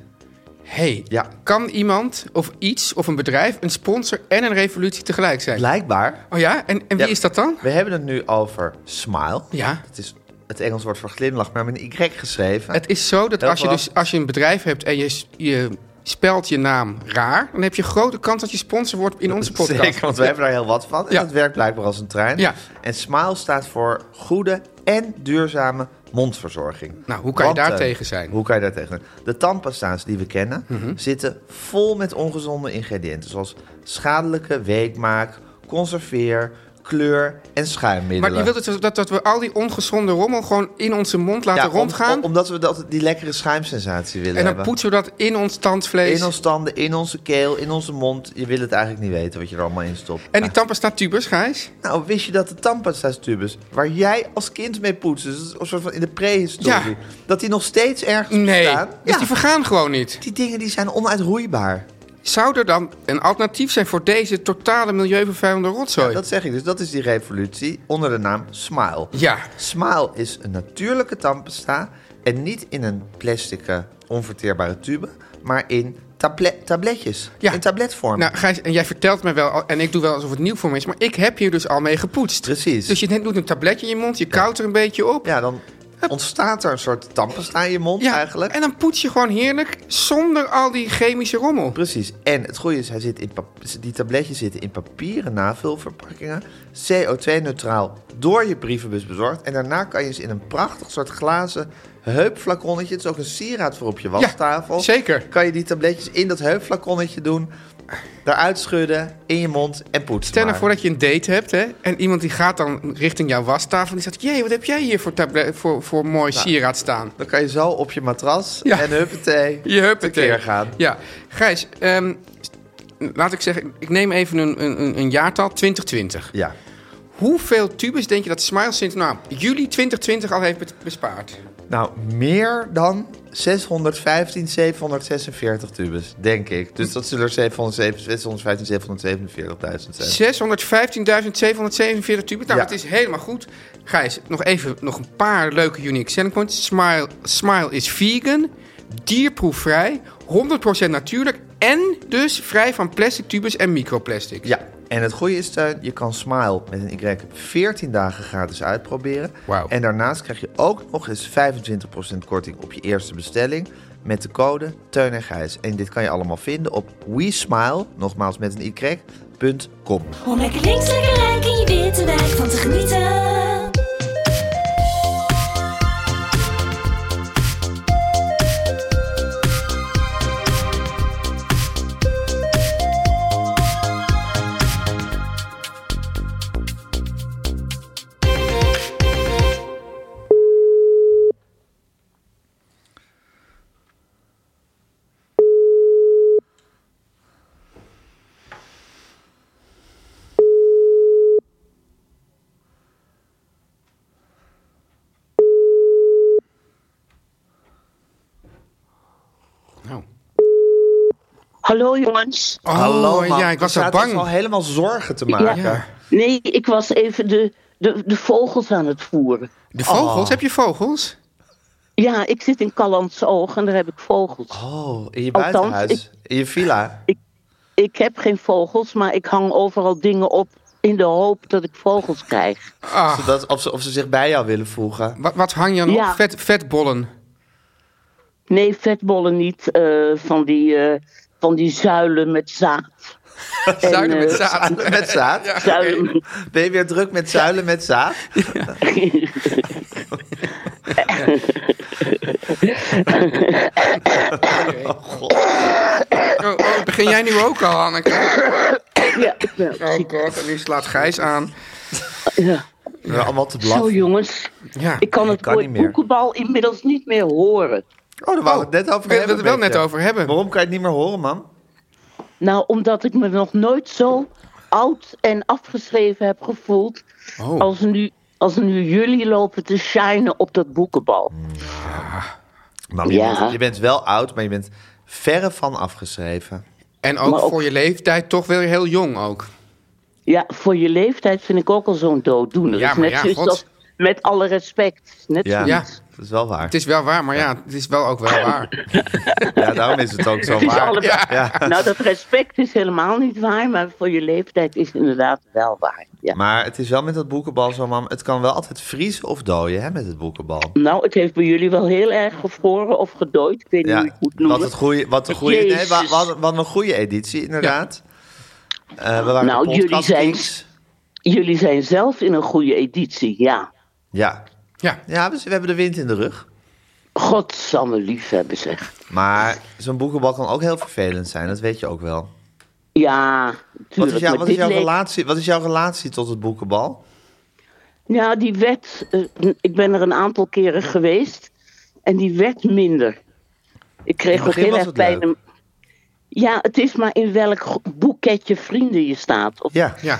Hey,
Ja.
kan iemand of iets of een bedrijf een sponsor en een revolutie tegelijk zijn?
Blijkbaar.
Oh ja? En, en wie
Ja.
is dat dan?
We hebben het nu over smile.
Ja.
Het is het Engels woord voor glimlach, maar met een Y geschreven.
Het is zo dat
Heel
als je,
veel
dus, als je een bedrijf hebt en je, s- je spelt je naam raar, dan heb je grote kans dat je sponsor wordt in onze podcast.
Zeker, want we hebben daar heel wat van. En
Ja.
dat werkt blijkbaar als een trein.
Ja.
En Smile staat voor goede en duurzame mondverzorging.
Nou, hoe kan je
Want,
daar
eh,
tegen zijn? Mhm.
Hoe kan je daar tegen zijn? De tandpasta's die we kennen zitten vol met ongezonde ingrediënten. Zoals schadelijke weekmaak, conserveer, kleur en schuimmiddelen.
Maar dus je wilt het, dat, dat we al die ongezonde rommel gewoon in onze mond laten
Ja, om-
rondgaan.
om- omdat we dat, die lekkere schuimsensatie willen
en dan
hebben.
poetsen we dat in ons tandvlees.
In ons tanden, in onze keel, in onze mond. Je wil het eigenlijk niet weten wat je er allemaal in stopt.
En die tandpasta tubers, Gijs?
Nou, wist je dat de tandpasta-tubus, waar jij als kind mee poetste, dus een soort van in de prehistorie,
Ja.
dat die nog steeds ergens
Nee,
bestaan?
dus
Ja.
die vergaan gewoon niet.
Die dingen die zijn onuitroeibaar.
Zou er dan een alternatief zijn voor deze totale milieuvervuilende rotzooi?
Dat zeg ik dus, dat is die revolutie onder de naam Smile.
Ja.
Smile is een natuurlijke tandpasta en niet in een plastic eh, onverteerbare tube, maar in tablet, tabletjes,
Ja.
in tabletvorm.
Nou, Gijs, en jij vertelt mij wel, al- en ik doe wel alsof het nieuw voor me is, maar ik heb hier dus al mee gepoetst.
Precies.
Dus je net doet een tabletje in je mond, je koudt er een beetje op.
Ja, dan ontstaat er een soort tandpasta in je mond
Ja,
eigenlijk.
En dan poets je gewoon heerlijk zonder al die chemische rommel.
Precies. En het goede is, hij zit in pap- die tabletjes zitten in papieren navulverpakkingen. CO2-neutraal door je brievenbus bezorgd. En daarna kan je ze in een prachtig soort glazen heupflaconnetje. Het is ook een sieraad voor op je wastafel.
zeker.
Kan je die tabletjes in dat heupflaconnetje doen. Daaruit schudden, in je mond en poetsen.
Stel nou
maar.
voor dat je een date hebt, hè? En iemand die gaat dan richting jouw wastafel en die zegt... Jee, wat heb jij hier voor, tablet, voor, voor mooi
Nou,
sieraad staan?
Dan kan je zo op je matras
Ja.
en huppatee
Je huppatee.
tekeer gaan.
Ja. Gijs, ehm, laat ik zeggen, ik neem even een, een, een- een jaartal, 2020.
Ja.
Hoeveel tubes denk je dat Smile sinds nou, juli 2020 al heeft be- bespaard?
Nou, meer dan 615, 746 tubes, denk ik. Dus dat zullen er 707, 615, 747.000 zijn.
615.747 tubes. Nou,
Ja.
het is helemaal goed. Gijs, nog even nog een paar leuke unique selling points. Smile, Smile is vegan, dierproefvrij, 100% natuurlijk... en dus vrij van plastic tubes en microplastics.
Ja, en het goede is, Tuin, je kan Smile met een Y 14 dagen gratis uitproberen.
Wauw.
En daarnaast krijg je ook nog eens 25% korting op je eerste bestelling met de code Teun en Gijs. En dit kan je allemaal vinden op WeSmile, nogmaals met een Y.com.
Om lekker links, lekker rijk in je witte wijk van te genieten.
Nou.
Hallo jongens.
Oh, ja, ik dus was
we
zo
zaten ons
bang.
al helemaal zorgen te maken.
Ja.
Nee, ik was even de, de, de vogels aan het voeren.
De vogels, heb je vogels?
Ja, ik zit in Callands Oog en daar heb ik vogels.
Oh, in je
Althans,
buitenhuis,
ik-
in je villa.
Ik heb geen vogels, maar ik hang overal dingen op in de hoop dat ik vogels krijg.
Ah,
Zodat, of, ze, of ze zich bij jou willen voegen.
wat, wat hang je dan
Ja.
op? Vet, vetbollen.
Nee, vetbollen niet eh, van, die, eh, van die zuilen met zaad. En,
Zuilen met
eh,
(laughs) zaad.
Zuilen met zaad?
Zuilen met
Ben je weer druk met zuilen met zaad?
Oh, oh, begin jij nu ook al, Anneke?
(laughs) ja, ik ben
Oh
ziek.
god, en nu slaat Gijs aan.
Ja.
We allemaal te
Zo
blaffen.
jongens,
Ja.
ik kan het
kan
woord
niet meer.
boekenbal inmiddels niet meer horen.
Oh, daar wouden we het net over
we
hebben.
hebben het wel
met
net
je.
over hebben.
Waarom kan je het niet meer horen, man?
Nou, omdat ik me nog nooit zo oud en afgeschreven heb gevoeld
Oh.
als nu... Als nu jullie lopen te shinen op dat boekenbal.
Maar je,
Ja.
bent, je bent wel oud, maar je bent verre van afgeschreven.
En ook,
Maar ook-
voor je leeftijd toch weer heel jong ook.
Ja, voor je leeftijd vind ik ook al zo'n dooddoener.
Ja,
Het is
maar
net
ja,
zoiets
God.
als- met alle respect. Net
Ja,
Ja.
dat is wel waar.
Het is wel waar, maar ja, het is wel ook
(coughs)
wel waar.
Ja, daarom is het ook zo
(laughs) Het is
waar.
allebei- Nou, dat respect is helemaal niet waar, maar voor je leeftijd is het inderdaad wel waar. Ja.
Maar het is wel met dat boekenbal zo, mam. Het kan wel altijd vriezen of dooien, hè, met het boekenbal.
Nou, het heeft bij jullie wel heel erg gevroren of gedooid. Ik weet niet hoe je
Ja,
het moet noemen.
wat, het goede, wat, de goede, nee,
Jezus.
wa- wa- wat, een goede editie, inderdaad. Eh, we waren
Nou,
de
jullie
podcast
zijn-
kings.
Jullie zijn zelf in een goede editie, ja.
Ja,
Ja,
ja we, we hebben de wind in de rug.
Godsamme liefhebben zeg.
Maar zo'n boekenbal kan ook heel vervelend zijn, dat weet je ook wel.
Ja,
Wat is,
tuurlijk.
jou,
maar
wat, is
dit
jouw
leek-
relatie, wat is jouw relatie tot het boekenbal?
Ja, die wet, eh, ik ben er een aantal keren geweest en die werd minder. Ik
In
kreeg
het
ook
begin
heel
was
erg
het
pijn.
leuk.
om- Ja, het is maar in welk gro- boeketje vrienden je staat. Of eh,
Ja,
ja.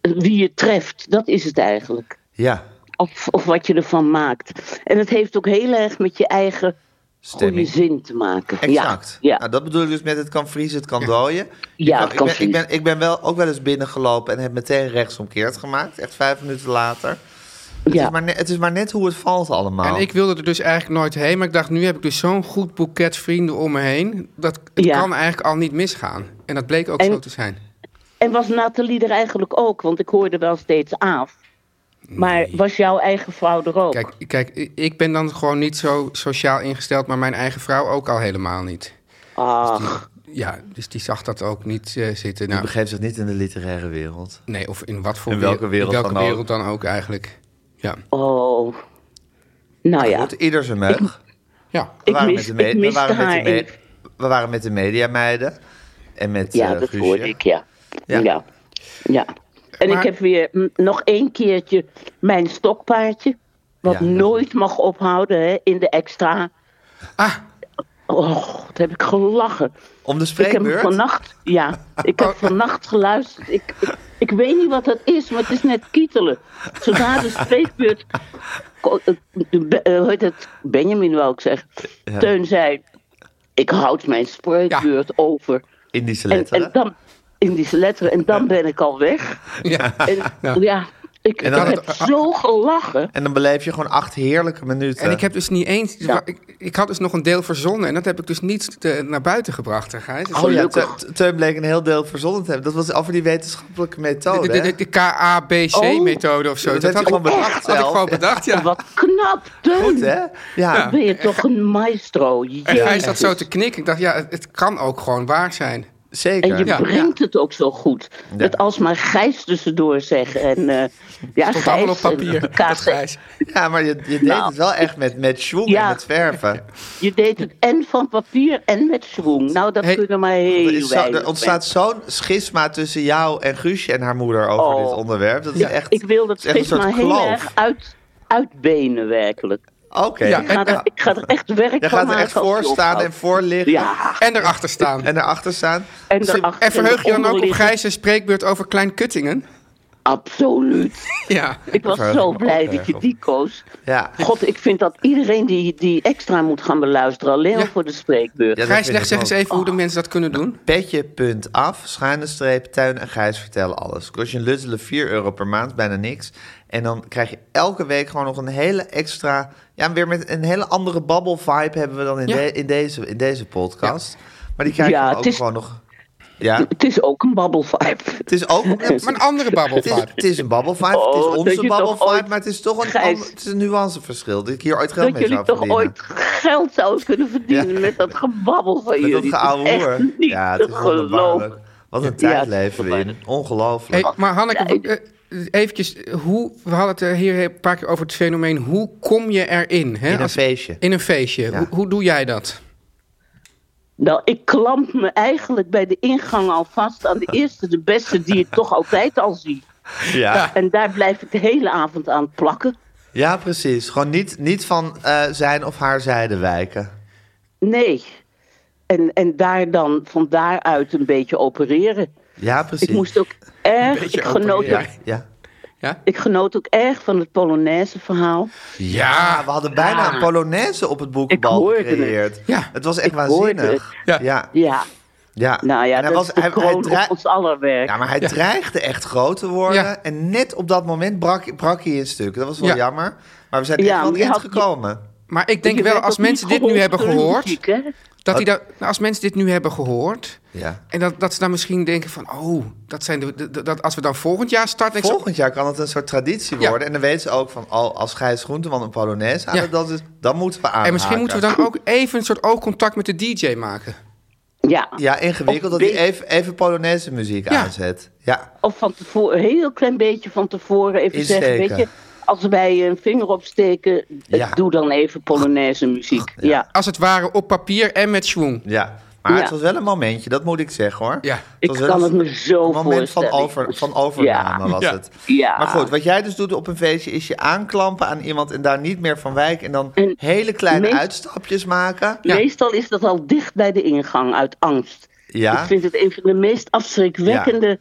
wie je treft, dat is het eigenlijk.
ja.
Of, of wat je ervan maakt. En het heeft ook heel erg met je eigen goede
Stemming.
zin te maken.
Exact.
Ja, ja.
Nou, dat bedoel ik dus met het kan vriezen, het kan dooien. Je
Ja, het
ik,
kan
ben, ik, ben,
vriezen.
ik ben wel ook wel eens binnengelopen en heb meteen rechtsomkeerd gemaakt. Echt vijf minuten later. Het,
ja.
is maar net, het is maar net hoe het valt allemaal.
En
Oh.
ik wilde er dus eigenlijk nooit heen, maar ik dacht, nu heb ik dus zo'n goed boeket vrienden om me heen. Dat het
Ja.
kan eigenlijk al niet misgaan. En dat bleek ook
En-
zo te zijn.
En was Nathalie er eigenlijk ook? Want ik hoorde wel steeds af. Maar was jouw eigen vrouw er ook?
Kijk, kijk, i- ik ben dan gewoon niet zo sociaal ingesteld, maar mijn eigen vrouw ook al helemaal niet.
Ach.
Ja, dus die zag dat ook niet eh, zitten.
Je
Nou,
begeeft zich niet in de literaire wereld.
nee, of in wat voor
In welke wereld
in welke
dan ook.
wereld dan ook eigenlijk. Ja,
Oh. Nou ja,
Goed, ieder zijn meug.
ja.
ik,
waren met
mis,
de me-
ik
we
miste
waren met de
haar.
me-
in-
We waren met de mediameiden. En met
ja,
eh,
dat
Guusje.
hoorde ik, ja.
Ja.
Ja. ja. En
Maar-
ik heb weer mm, nog één keertje mijn stokpaardje. Wat
Ja, heel
nooit mag ophouden hè, in de extra.
Ah,
Oh, dat heb ik gelachen.
Om de
Ik heb hem
spreekbeurt. Oh.
vannacht, ja, ik
(laughs)
heb vannacht geluisterd. Ik, ik, ik weet niet wat dat is, maar het is net kietelen. Zodra de spreekbeurt ko- eh, Be- eh, hoe heet het? Benjamin wou ik zeggen.
Ja.
Teun zei, ik houd mijn spreekbeurt over.
Indische
En,
letteren.
en dan, Indische letteren, en dan ben ik al
(laughs)
weg.
Ja.
En ja, ik,
En dan-
ik heb zo gelachen.
En dan beleef je gewoon acht heerlijke minuten.
En ik heb dus niet eens.
Ja.
Ik, ik had dus nog een deel verzonnen en dat heb ik dus niet te- naar buiten gebracht. hè, Gijs.
Oh ja,
gelukkig.
Te- Te- Teun bleek een heel deel verzonnen te hebben. Dat was over die wetenschappelijke
De,
methode.
de, de,
Oh, hè?
de KABC-methode of zo.
Oh. Dat heeft hij gewoon bedacht
had ik
zelf.
gewoon
(laughs)
bedacht, ja.
Wat knap, Teun.
Goed, hè? Ja.
Ben je toch een maestro.
En
Jezus.
hij zat zo te knikken. Ik dacht, ja, het, het kan ook gewoon waar zijn.
zeker.
En je
Ja.
brengt het ook zo goed. Dat alsmaar Gijs tussendoor zeggen. En, eh, ja,
Stond allemaal op
Gijs en
(laughs)
papier.
KC.
Dat Gijs.
Ja, maar je, je deed
Nou.
het wel echt met, met schwung
Ja.
en met verven.
Je deed het en van papier en met schwung. Nou, dat
Hey,
kunnen maar heel
Er, is zo-
weinig
er ontstaat zo'n schisma tussen jou en Guusje en haar moeder over
Oh.
dit onderwerp. Dat is
mensen.
echt,
Ik wil dat
het is echt
steeds
een
maar
soort
heel
kloof.
erg uit, uitbenen, werkelijk.
Oké.
Ja,
Ik ga,
En-
er, nou, ik ga er echt werk
Je eh,
van
gaat er
maken
echt
als
voor
die
staan en
ophoudt.
voor liggen
Ja,
En erachter staan. En,
en erachter staan.
en daarachter...
verheug je dan ook op
onderliggen.
Gijs' spreekbeurt over Klein Kuttingen?
Absoluut.
Ja.
Ik was
Verheug
zo
me
blij
ook
dat je
erg
die koos.
Ja.
God, ik vind dat iedereen die, die extra moet gaan beluisteren... alleen al
Ja.
voor de spreekbeurt.
Ja, dat
Gijs,
vind
leg
ik
zeg
ook.
eens even hoe de mensen dat kunnen doen.
Petje.af, schuine streep, tuin en Gijs vertellen alles. Kost je een luttele 4 euro per maand, bijna niks. En dan krijg je elke week gewoon nog een hele extra... Ja, weer met een hele andere babbel-vibe hebben we dan in,
Ja.
de- in, deze, in deze podcast. Maar die krijg je
Ja,
dan ook
het is-
gewoon nog... Ja,
Het is ook een babbelvibe.
het is ook...
Maar een andere
Het is,
babbelvaart.
het is een babbelvibe, het
Oh,
is
dat
onze
je toch
babbelvibe,
ooit-
maar het is toch een,
Gijs.
ander- het is een nuanceverschil. Dat ik hier ooit geld
Dat
mee
jullie
zou
toch
verdienen.
ooit geld zouden kunnen verdienen
Ja.
met dat gebabbel van
Met dat
jullie. Het is
geouwe
echt
hoer.
niet
Ja, het
te
is
geloven.
wonderbaarlijk. Wat een
Ja,
tijd
het is
leven we in.
wonderbaarlijk.
Ongelooflijk.
Hey, maar Hanneke,
Ja,
eh, eventjes, hoe, we hadden het eh, hier een paar keer over het fenomeen. Hoe kom je erin? Hè?
in een
Als-
feestje.
in een feestje. Hoe, hoe doe jij dat?
Nou, ik klamp me eigenlijk bij de ingang al vast aan de eerste, de beste die ik toch altijd al zie.
Ja.
En daar blijf ik de hele avond aan plakken.
ja, precies. Gewoon niet, niet van eh, zijn of haar zijde wijken.
Nee. En, en daar dan van daaruit een beetje opereren.
Ja, precies.
Ik moest ook erg,
beetje
ik genoot,
opereren.
ook,
Ja.
ik genoot ook erg van het Polonaise verhaal.
Ah.
Ja, Ah, we hadden bijna
Ja.
een Polonaise op het
Ah. Ik
boekenbal
hoorde het.
gecreëerd.
Ja.
Het was echt
hoorde
waanzinnig.
het.
Ja.
Ja,
ja.
nou ja,
En hij
dat
was,
is de
hij, hij
kroon
drei-
op ons aller werk.
ja, maar hij dreigde echt groot te worden.
Ja.
En net op dat moment brak, brak hij in stukken. Dat was wel
Ja.
jammer. Maar we zijn
Ja,
echt wel
maar je
eind
had-
gekomen.
Maar ik denk
Je
wel,
werd
als
ook niet
mensen dit nu
geholpen
hebben
door de
gehoord...
muziek, hè?
Dat die dat, nou, als mensen dit nu hebben gehoord...
Ja.
en dat, dat ze dan misschien denken van... oh, dat zijn de, de- dat, als we dan volgend jaar starten... ik zou-
Volgend jaar kan het een soort traditie
Ja.
worden. En dan weten ze ook van, oh, als Gijs Groenteman een Polonaise aan
Ja.
het dansen is, dan moeten we aan.
en misschien moeten we dan ook even een soort oogcontact met de DJ maken.
Ja.
Ja, ingewikkeld dat
Of
hij
beetje-
even, even Polonaise muziek
Ja.
aanzet. Ja,
Of van tevoren, een heel klein beetje van tevoren even
Insteken.
zeggen, weet je, als wij een vinger opsteken, eh,
Ja.
doe dan even Polonaise muziek. Ja.
Als het ware op papier en met schwung.
ja. Maar
Ja.
het was wel een momentje, dat moet ik zeggen hoor.
Ja.
Ik
was wel
kan
een-
het me zo
Een moment van,
voorstellen.
over, van overname
Ja.
was
Ja.
het.
Ja.
Maar goed, wat jij dus doet op een feestje is je aanklampen aan iemand en daar niet meer van wijken. En dan
En
hele kleine
meest-
uitstapjes maken.
Ja.
Meestal is dat al dicht bij de ingang uit angst.
Ja.
Ik vind het een van de meest afschrikwekkende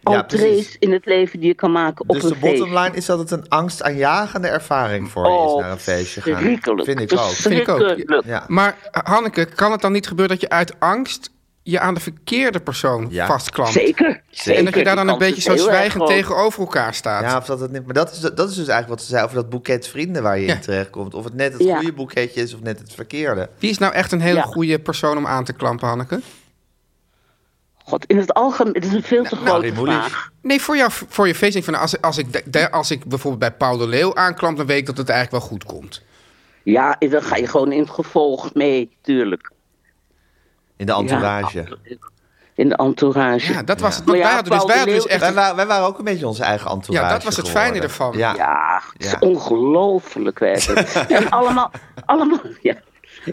Ja,
entrees
precies.
in het leven die je kan maken op
Dus
een
de bottom
feest. Oh,
line is dat het een angstaanjagende ervaring voor je is naar een feestje gaan.
verschrikkelijk.
Vind ik ook.
Vind ik ook.
Verschrikkelijk.
Ja.
Maar Hanneke, kan het dan niet gebeuren dat je uit angst... je aan de verkeerde persoon
Ja.
vastklampt?
Zeker.
En dat
zeker.
je daar
Die
dan een
kans
beetje
is
zo
heel erg
zwijgend
groot.
tegenover elkaar staat.
Ja, of dat het niet. Maar dat is, dat is dus eigenlijk wat ze zei over dat boeket vrienden waar je
Ja.
in terechtkomt. Of het net het
Ja.
goede boeketje is of net het verkeerde.
Wie is nou echt een hele
Ja.
goede persoon om aan te klampen, Hanneke?
God, in het algemeen, het is een veel te
nou,
grote
Rimoelis.
vraag.
Nee, voor, jou, voor je feest. denk Ik van, als, als, ik, de- de- als ik bijvoorbeeld bij Paul de Leeuw aanklamp, dan weet ik dat het eigenlijk wel goed komt.
Ja, dan ga je gewoon in het gevolg mee, tuurlijk.
In de entourage.
Ja, in de entourage.
Ja, dat was het.
Maar ja,
wij hadden dus,
Paul
wij
de
hadden dus
Leeuw-
echt.
wij, wa- wij waren ook een beetje onze eigen entourage.
Ja, dat was het
geworden.
fijne ervan.
Ja.
Ja, het is
Ja.
ongelooflijk
(laughs)
werkelijk. en allemaal, allemaal, ja.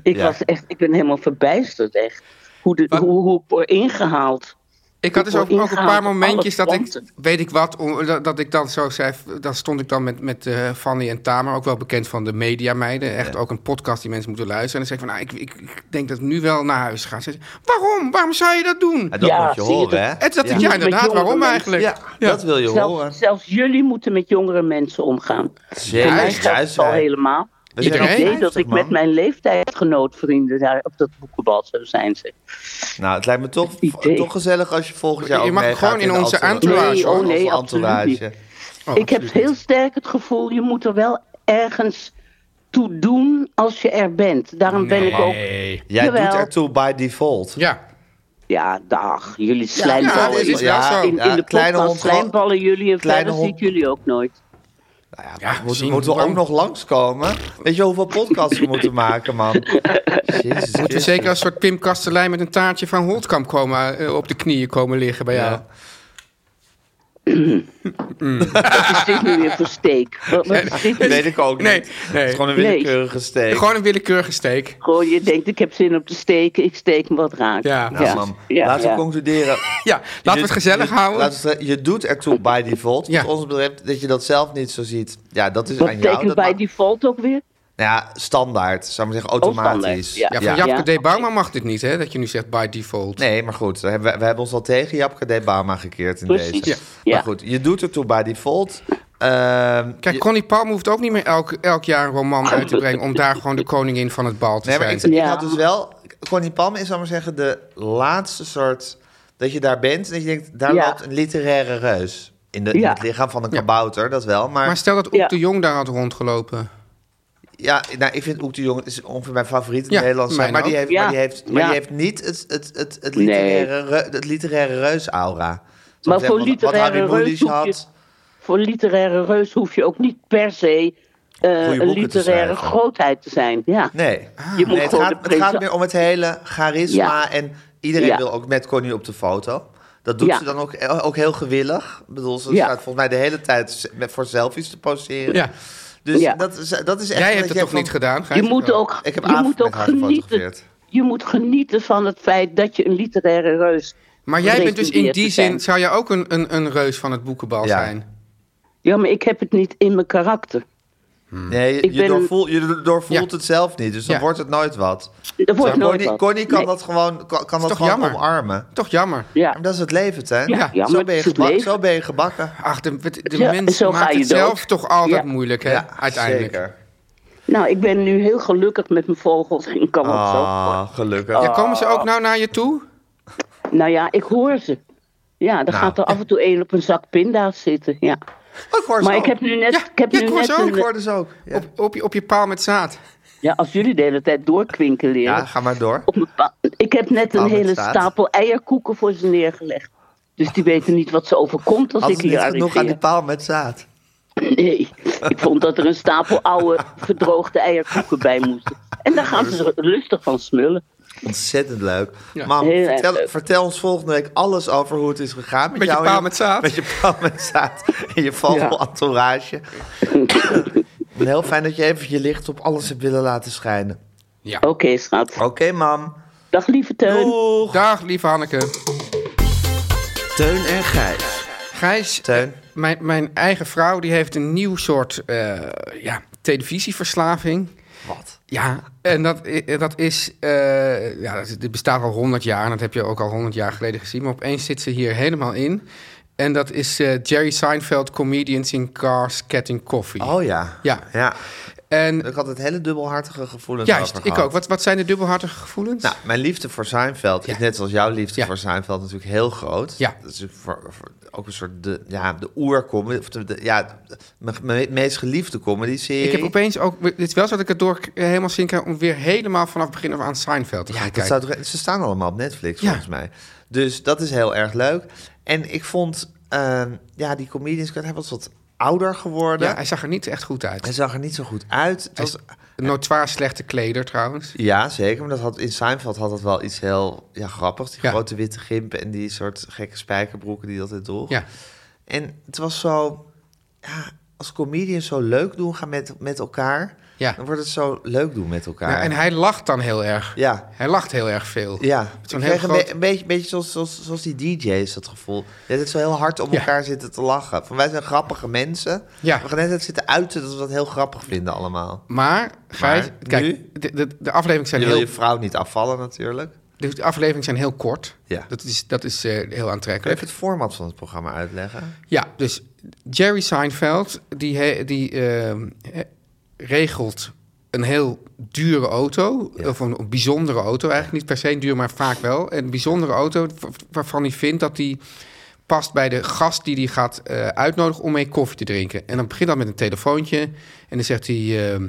Ik
Ja.
was echt, ik ben helemaal verbijsterd echt. Hoe, de, hoe, hoe ik word ingehaald.
Ik had dus ook,
Voor
ook een
ingehaald
paar
op alle
momentjes dat ik,
planten.
weet ik wat, om- dat, dat ik dan zo zei, dan stond ik dan met, met eh, Fanny en Tamer, ook wel bekend van de mediameiden, echt ook een podcast die mensen moeten luisteren. En dan zei ik van, nou, ik, ik, ik denk dat ik nu wel naar huis ga. Ze zei, waarom? Waarom zou je dat doen?
En dat
Ja,
moet je
zie je
horen,
dat-
hè?
En toen dacht ik,
Ja.
ja inderdaad,
Met jongere
waarom
mensen.
eigenlijk?
Ja, dat wil je horen.
Zelfs, zelfs jullie moeten met jongere mensen omgaan.
Zeker,
En mij
juist.
geldt het al
hè.
helemaal.
We
Ik
zijn
Iedereen?
al
weet dat
50,
ik met
man.
mijn leeftijdgenootvrienden daar op dat boekenbal zou zijn. Zeg.
Nou, het lijkt me toch,
Idee.
toch gezellig als je volgend jaar
Je
ook
mag
meegaat
gewoon in
de
onze entourage,
Nee,
hoor.
oh, nee,
Onze
absoluut
entourage.
niet.
Oh,
ik heb
absoluut.
heel sterk het gevoel, je moet er wel ergens toe doen als je er bent. Daarom ben ik ook...
Nee.
Jij
Jawel.
doet ertoe by default.
Ja,
Ja, dag, jullie
ja,
slijmballen.
dit is wel zo.
in, in
Oh, ja,
de
kleine
podcast
hond gewoon-
slijmballen jullie en
kleine
verder zie ik
hond-
jullie ook nooit.
Nou ja,
Ja,
we moeten,
zien
we moeten
hoe
ook
lang-
nog langskomen. Weet je hoeveel podcasts we moeten maken,
(laughs)
man? Jezus
moeten we
Christus.
zeker als een soort Pim Kastelein met een taartje van Holtkamp komen, eh, op de knieën komen liggen bij jou.
Ja.
Wat is dit nu weer voor
(laughs)
steek? Wat, wat is dit nu?
Weet ik ook
Nee,
niet.
nee.
Het is gewoon een
Nee.
willekeurige steek.
Gewoon een willekeurige steek.
Gewoon, je denkt, ik heb zin om te steken, ik steek me wat raak.
Ja.
Nou,
Ja.
man,
Ja,
laten
ja.
we concluderen.
Ja, laten we het gezellig
je,
houden.
laten we het- je doet ertoe by default.
Ja.
Wat ons betreft dat je dat zelf niet zo ziet. Ja, dat is
Wat
aan jou.
betekent
Dat
bij
mag-
default ook weer?
Nou ja, standaard. Zou ik maar zeggen,
Oh, standaard,
automatisch.
ja.
Ja, van
Ja.
Japke
Ja.
D. Bauma mag dit niet, hè? Dat je nu zegt by default.
Nee, maar goed, we hebben, we hebben ons al tegen Japke de Bama gekeerd in
Precies,
deze.
ja.
Maar
Ja.
goed, je doet er toe by default. Ehm,
Kijk,
je-
Connie Palm hoeft ook niet meer elk, elk jaar een roman uit te brengen... om daar gewoon de koningin van het bal te
nee, maar
zijn.
ik, ik
Ja.
had dus wel... Connie Palm is, zal ik maar zeggen, de laatste soort... dat je daar bent en dat je denkt, daar
Ja.
loopt een literaire reus. In, de, in
Ja.
het lichaam van een
Ja.
kabouter, dat wel. Maar,
Maar stel dat Oek
Ja.
de Jong daar had rondgelopen.
ja, nou, ik vind Oek de Jong is ongeveer mijn favoriet in
Ja,
het Nederlands.
mijn
Maar, die
ook.
heeft,
Ja.
maar, die heeft, maar
Ja.
die heeft niet het, het, het, het,
Nee.
literaire, reu- het literaire reus-aura. Zal
Maar
ik zeggen,
voor
wat- wat
literaire
Harry Mulisch
reus hoef je-
had.
Voor literaire reus hoef je ook niet per se eh,
Goeie
een
boeken te
literaire
schrijven.
grootheid te zijn. Ja.
Nee.
Je moet
Nee, het,
gewoon
gaat,
de
het gaat
presen-
meer om het hele charisma.
Ja.
En iedereen
Ja.
wil ook met Connie op de foto. Dat doet
Ja.
ze dan ook, ook heel gewillig. Ik bedoel, ze
Ja.
staat volgens mij de hele tijd met- voor selfies te poseren.
Ja.
Dus
Ja.
dat, is, dat is echt...
Jij
dat
hebt het
jij
toch
van-
niet gedaan, Gijs?
Je moet ook,
Ik heb
je
avond
moet
met
ook
haar gefotografeerd.
genieten. Je moet genieten van het feit dat je een literaire reus.
Maar jij bent dus in
pretendeert
die
te zijn.
zin... zou jij ook een, een, een reus van het boekenbal
Ja.
zijn?
Ja, maar ik heb het niet in mijn karakter.
Nee, je,
Ik
je
ben-
doorvoelt, je doorvoelt
Ja.
het zelf niet. Dus dan
Ja.
wordt het nooit wat.
Dat wordt
Maar
nooit
Connie,
wat.
Connie kan
Nee.
dat gewoon, kan, kan dat
toch
gewoon
jammer?
omarmen.
Toch jammer.
Ja,
Ja.
maar dat is het leven, hè?
Ja,
ja,
zo,
maar
ben je
het is het
gebak-
leven.
zo ben je gebakken.
Ach, de, de, de
Ja,
mens
zo ga
maakt
je
het
dood.
zelf toch altijd
Ja.
moeilijk, hè?
Ja,
Uiteindelijk.
Zeker.
Nou, ik ben nu heel gelukkig met mijn vogels. Ik kan ook zo.
Ah, gelukkig.
Ja, komen ze ook nou naar je toe?
Nou ja, ik hoor ze. Ja, er
Nou.
gaat er af en toe één op een zak pinda's zitten. Ja.
Oh, Ik hoor ze
Maar
ook.
ik heb nu net.
Ja,
ik heb
ja,
nu
ik hoor
net
ze ook,
een-
Ik hoor dus ook. Ja.
Op, op, je, op je paal met zaad.
ja, als jullie de hele tijd doorkwinken leren.
Ja, ga maar door.
Op mijn pa- ik heb net een
Paal met
hele
staart.
stapel eierkoeken voor ze neergelegd. Dus die weten niet wat ze overkomt als,
Als
ik
het niet
hier
genoeg aan die
arriveer.
paal met zaad.
(laughs) Nee, ik vond dat er een stapel oude, gedroogde eierkoeken bij moesten. En daar gaan ze
dus-
er lustig van smullen.
Ontzettend leuk.
Ja.
Mam,
Heel erg
vertel,
leuk.
vertel ons volgende week alles over hoe het is gegaan. Met,
Met je
jou
paal
en
met zaad.
Met je paal met zaad. En je vogelentourage. En Heel fijn dat je even je licht op alles hebt willen laten schijnen.
Ja.
Oké, schat.
Oké, mam.
Dag, lieve Teun.
Doeg.
Dag, lieve Hanneke.
Teun en Gijs.
Gijs,
Teun.
eh, mijn, mijn eigen vrouw die heeft een nieuw soort eh, ja, televisieverslaving.
Wat?
Ja, en dat, i- dat is. eh, ja, dat- dit bestaat al 100 jaar en dat heb je ook al 100 jaar geleden gezien. Maar opeens zit ze hier helemaal in. En dat is eh, Jerry Seinfeld, comedians in cars, getting coffee.
Oh ja.
Ja.
ja.
en
Ik had het hele dubbelhartige gevoelens
juist,
over
ik
gehad.
ook. Wat, wat zijn de dubbelhartige gevoelens?
Nou, mijn liefde voor Seinfeld is net zoals jouw liefde
Ja.
voor Seinfeld natuurlijk heel groot.
Ja.
Dat is natuurlijk voor, voor ook een soort de, ja, de oercomedy, of de, de- ja, de- mijn, mijn meest geliefde comedy-serie.
ik heb opeens ook. Het is wel zo dat ik het door eh, helemaal zin krijg om weer helemaal vanaf het begin af aan Seinfeld te gaan
ja, dat
kijken.
staat, toch- ze staan allemaal op Netflix
Ja.
volgens mij. Dus dat is heel erg leuk. En ik vond, ehm, ja, die comedians, hij was wat ouder geworden.
Ja, hij zag er niet echt goed uit.
Hij zag er niet zo goed uit. Het was,
Een notoire slechte kleder trouwens.
ja, zeker. Maar dat had, in Seinfeld had dat wel iets heel ja, grappigs. Die
Ja.
grote witte gimpen en die soort gekke spijkerbroeken die dat altijd droeg.
Ja.
En het was zo, ja, als comedians zo leuk doen gaan met, met elkaar.
Ja.
Dan wordt het zo leuk doen met elkaar.
Nou, en hij lacht dan heel erg.
Ja.
Hij lacht heel erg veel.
Ja,
Zo'n
ik
heel
kreeg een, be-
groot-
een beetje, beetje zoals, zoals, zoals die DJ's, dat gevoel. Dat het zo heel hard om
Ja.
elkaar zitten te lachen. Van, wij zijn grappige mensen.
Ja.
We gaan net zitten uiten dat we dat heel grappig vinden allemaal.
Maar, Gijs,
Maar, nu?
kijk, de, de, de afleveringen zijn
Je wil
heel
je vrouw niet afvallen natuurlijk.
De afleveringen zijn heel kort.
Ja.
Dat is, dat is eh, heel
Kun je
aantrekkelijk.
even het format van het programma uitleggen?
Ja, dus Jerry Seinfeld, die, he- die ehm, eh, regelt een heel dure auto. Of een, een bijzondere auto, eigenlijk niet per se een duur, maar vaak wel. Een bijzondere auto wa- waarvan hij vindt dat die past bij de gast die hij gaat eh, uitnodigen om mee koffie te drinken. En dan begint dat met een telefoontje. En dan zegt hij... ehm,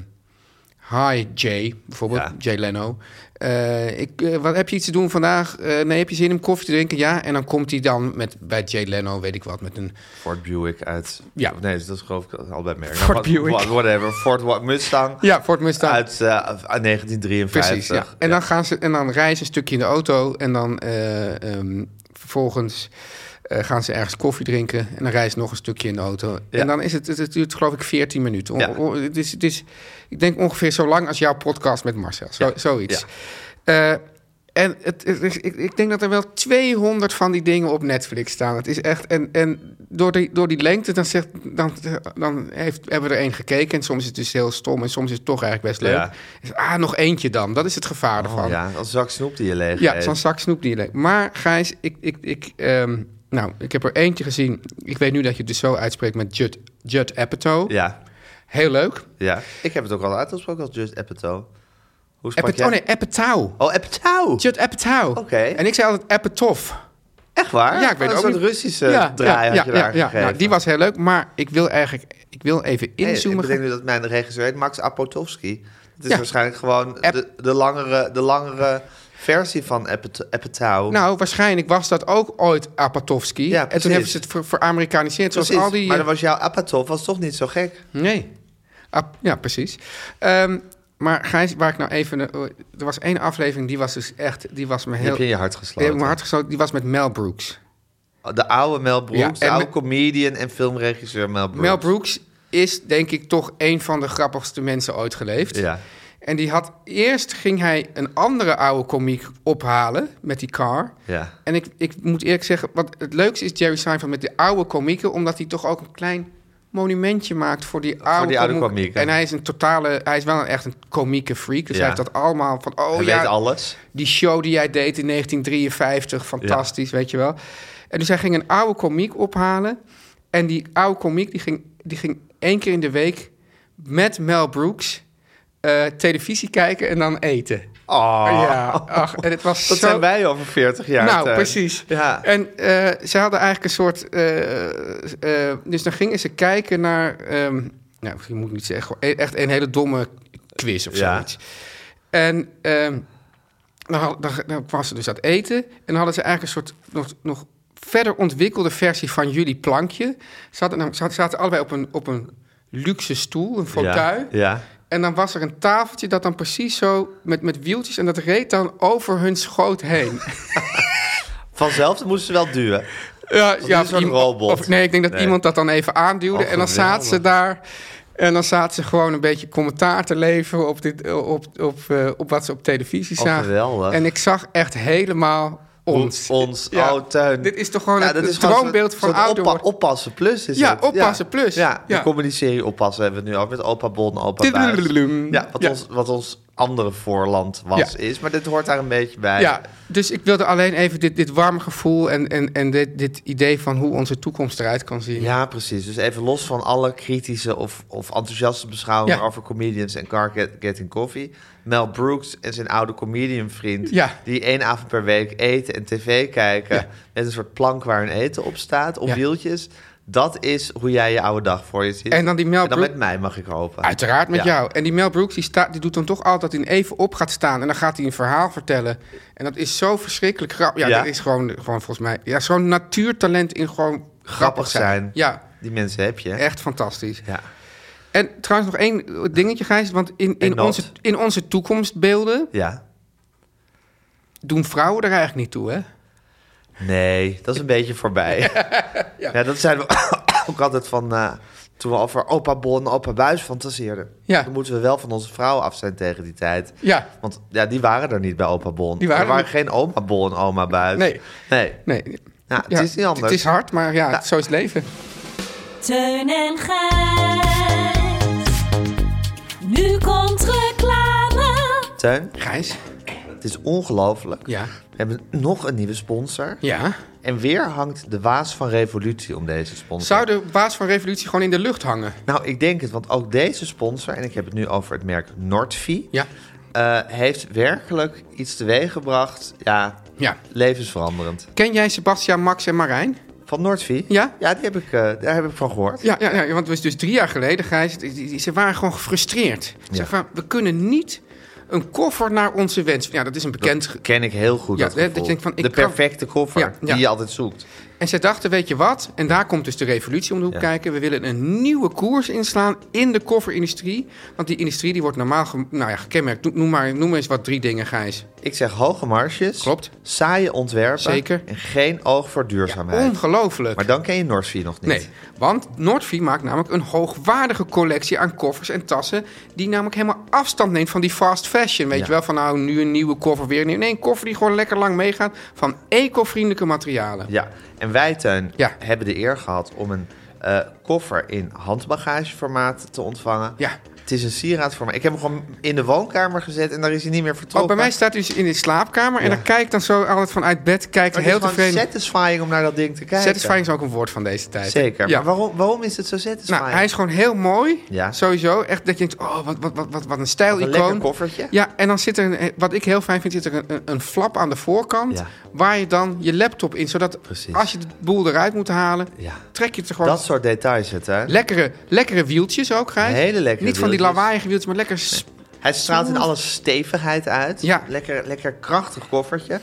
Hi Jay, bijvoorbeeld,
Ja.
Jay Leno. Eh, ik, eh, wat heb je iets te doen vandaag? Eh, nee, heb je zin om koffie te drinken? Ja. En dan komt hij dan met, bij Jay Leno, weet ik wat, met een
Ford Buick uit...
Ja.
Nee, dat is geloof ik allebei merk.
Ford
Nou, Wat-
Buick.
wat- Whatever, Ford wa- Mustang
Ja, Ford Mustang.
uit eh, 1953.
Precies, ja. En dan, gaan ze, en dan rijden ze een stukje in de auto en dan eh, ehm, vervolgens eh, gaan ze ergens koffie drinken en dan rijden ze nog een stukje in de auto.
Ja.
En dan is het, het, het duurt geloof ik 14 minuten. O-
Ja.
o- het, is, het is, ik denk ongeveer zo lang als jouw podcast met Marcel, zo, zoiets. Eh, en het, het is- ik, ik denk dat er wel 200 van die dingen op Netflix staan. Het is echt. En, en door, die, door die lengte, dan, zegt, dan, dan heeft, hebben we er één gekeken. En soms is het dus heel stom. En soms is het toch eigenlijk best leuk.
Ja.
Dus, ah, nog eentje dan. Dat is het gevaar ervan.
Oh, ja, als zak snoep die je leeg
Ja,
eet.
zo'n zak snoep die je leek. Maar Gijs, ik, ik, ik, ehm, nou, ik heb er eentje gezien. Ik weet nu dat je het dus zo uitspreekt met Judd, Judd Apatow.
Ja,
Heel leuk.
ja. Ik heb het ook al uitgesproken als Just Apatow. Hoe sprak
Apatow,
jij?
oh nee, Apatow.
Oh, Apatow!
Judd Apatow.
Oké.
En ik zei altijd Apatow.
Echt waar?
Ja, ik weet
Oh,
ook
Een
niet.
soort Russische draai had je daar gegeven.
Nou, die was heel leuk, maar ik wil eigenlijk... Ik wil even
Hey,
inzoomen.
ik bedenk nu dat mijn regisseur heet Max Apotowski. Het is
Ja.
waarschijnlijk gewoon
App-
de, de, langere, de langere versie van Apatow. Apatow.
nou, waarschijnlijk was dat ook ooit Apatowski.
Ja,
en
precies.
toen hebben ze het ver- veramerikaniseerd. Zoals
Precies,
al die...
maar
eh,
dan was jouw Apatow was toch niet zo gek?
Nee. Ah, ja, precies. Ehm, maar Gijs, waar ik nou even... eh, Er was één aflevering, die was dus echt... Die was me
Die
heel...
heb je in je hart
die heb
gesloten.
ik in mijn hart gesloten. Die was met Mel Brooks.
De oude Mel
Ja,
Brooks,
en
de oude
me-
comedian en filmregisseur Mel Brooks.
Mel Brooks is denk ik toch een van de grappigste mensen ooit geleefd.
Ja.
En die had eerst ging hij een andere oude komiek ophalen met die car.
Ja.
En ik, ik moet eerlijk zeggen, wat het leukste is Jerry Seinfeld met de oude komieken, omdat hij toch ook een klein monumentje maakt voor die oude,
die oude
komiek.
komieken.
En hij is een totale, hij is wel een, echt een komieke freak. Dus
Ja.
hij heeft dat allemaal van, oh
Hij
ja,
weet alles.
die show die jij deed in 1953, fantastisch, weet je wel. En dus hij ging een oude komiek ophalen. En die oude komiek die ging, die ging één keer in de week met Mel Brooks eh, televisie kijken en dan eten.
Oh,
Ja, ach, en het was
dat
zo...
zijn wij over 40 jaar.
Nou,
Teun.
precies.
eh, Ja.
En eh, ze hadden eigenlijk een soort... eh, eh, dus dan gingen ze kijken naar... ehm nou, je moet ik niet zeggen. gewoon e- Echt een hele domme quiz of
Ja.
zoiets. En ehm, dan, had- dan, dan was ze dus aan het eten. En dan hadden ze eigenlijk een soort nog, nog verder ontwikkelde versie van jullie plankje. Ze, hadden, nam- ze had- zaten allebei op een, op een luxe stoel, een fauteuil.
Ja, ja.
En dan was er een tafeltje dat dan precies zo met, met wieltjes... en dat reed dan over hun schoot heen.
Vanzelf moesten ze wel duwen.
Ja,
niet zo'n
iemand-
robot.
Of, nee, ik denk dat
Nee.
iemand dat dan even aanduwde.
Oh,
en dan
geweldig.
zaten ze daar. En dan zaten ze gewoon een beetje commentaar te leveren op, dit, op, op, eh, op wat ze op televisie
Oh,
zagen.
geweldig.
En ik zag echt helemaal ons.
Ons,
Ja.
oh Teun.
Dit is toch gewoon het-
dat
het
is gewoon
droombeeld
zo'n-
van
zo'n
ouder
oppa-
worden.
Oppassen Plus is
Ja,
het.
Oppassen Plus.
Ja,
Ja.
de comedy-serie Oppassen hebben we het nu al met Opa Bon, Opa Buis.
Tudelulum.
Ja, wat,
Ja.
Ons, wat ons andere voorland was,
Ja.
is. Maar dit hoort daar een beetje bij.
Ja, dus ik wilde alleen even dit, dit warme gevoel en, en, en dit, dit idee van hoe onze toekomst eruit kan zien.
Ja, precies. Dus even los van alle kritische of, of enthousiaste beschouwingen
Ja.
over comedians en car get, getting coffee. Mel Brooks en zijn oude comedianvriend,
Ja.
die één avond per week eten en tv kijken
Ja.
met een soort plank waar hun eten op staat, op
Ja.
wieltjes. Dat is hoe jij je oude dag voor je ziet.
En dan die Mel Brook-
met mij, mag ik hopen.
Uiteraard
Ja.
met jou. En die Mel Brooks die, staat, die doet dan toch altijd in even op gaat staan. En dan gaat hij een verhaal vertellen. En dat is zo verschrikkelijk grappig. Ja,
Ja.
dat is gewoon, gewoon volgens mij... Ja, zo'n natuurtalent in gewoon grappig,
Grappig
zijn.
zijn.
Ja,
Die mensen heb je.
echt fantastisch.
Ja.
En trouwens nog één dingetje, Gijs. Want in,
En
in,
dat.
onze, in onze toekomstbeelden
ja.
doen vrouwen er eigenlijk niet toe, hè? (laughs)
(coughs) Nee, dat is een beetje voorbij. ja. dat zijn we ook altijd van... eh, Toen we over opa Bon en opa Buis fantaseerden.
Ja.
Dan moeten we wel van onze vrouwen af zijn tegen die tijd.
Ja.
Want ja, die waren er niet bij opa Bon.
Die waren
er waren
er
geen oma Bon en oma Buis.
Nee.
Nee.
Nee.
Ja, het is niet anders.
Het is hard, maar ja,
Ja.
zo is het leven.
Teun en Gijs. Nu komt reclame.
Teun,
Gijs?
het is ongelooflijk.
Ja.
We hebben nog een nieuwe sponsor.
Ja.
En weer hangt de waas van revolutie om deze sponsor.
Zou de baas van Revolutie gewoon in de lucht hangen?
Nou, ik denk het, want ook deze sponsor, en ik heb het nu over het merk Nordvi,
Ja.
eh, heeft werkelijk iets teweeggebracht. Ja,
Ja.
levensveranderend.
Ken jij Sebastian, Max en Marijn?
Van Nordvi?
Ja.
Ja, die heb ik, eh, daar heb ik van gehoord.
Ja, ja, ja, want het was dus drie jaar geleden, Gijs. die- die- die- Ze waren gewoon gefrustreerd. Ze
Ja.
zeiden van, we kunnen niet een koffer naar onze wens. Ja, dat is een bekend... ge-
Ken ik heel goed.
Ja,
dat
hè, dat
gevoel.
je denkt van, ik
de
kan-
perfecte koffer
Ja, ja.
die je altijd zoekt.
En zij dachten, weet je wat? En daar komt dus de revolutie om de hoek
Ja.
kijken. We willen een nieuwe koers inslaan in de kofferindustrie. Want die industrie die wordt normaal gem- nou ja, gekenmerkt. Noem- Noem maar, noem maar eens wat drie dingen, Gijs.
Ik zeg hoge marges.
Klopt.
Saaie ontwerpen.
Zeker.
En geen oog voor duurzaamheid.
Ongelooflijk.
maar dan ken je Nordvi nog niet.
Nee, want Nordvi maakt namelijk een hoogwaardige collectie aan koffers en tassen... die namelijk helemaal afstand neemt van die fast fashion. Weet
Ja.
je wel, van nou, nu een nieuwe koffer weer. Nee, nee, een koffer die gewoon lekker lang meegaat van eco-vriendelijke materialen.
Ja, en wij, Teun,
Ja.
hebben de eer gehad om een eh, koffer in handbagageformaat te ontvangen.
Ja.
Het is een sieraad voor mij. Ik heb hem gewoon in de woonkamer gezet en daar is hij niet meer vertrokken.
Oh, bij mij staat hij dus in de slaapkamer en
Ja.
dan kijkt dan zo altijd vanuit bed, kijkt
Maar
heel
het is
tevreden.
gewoon satisfying om naar dat ding te kijken.
Satisfying is ook een woord van deze tijd.
Zeker.
Ja.
Maar waarom, waarom is het zo satisfying?
Nou, hij is gewoon heel mooi.
Ja.
Sowieso. Echt dat je denkt, oh, wat, wat, wat, wat, wat een
Wat een
stijlicoon.
lekker koffertje.
Ja, en dan zit er, een- wat ik heel fijn vind, zit er een, een, een flap aan de voorkant.
Ja.
Waar je dan je laptop in, zodat
Precies.
als je de boel eruit moet halen,
Ja.
trek je het er gewoon.
Dat soort details, het, hè?
Lekkere, lekkere wieltjes ook, Gijs.
Hele lekkere
Niet van die
wieltjes.
lawaaiige wieltjes, maar lekker... sp-
Hij straalt in alle stevigheid uit.
Ja.
Lekker, lekker krachtig koffertje.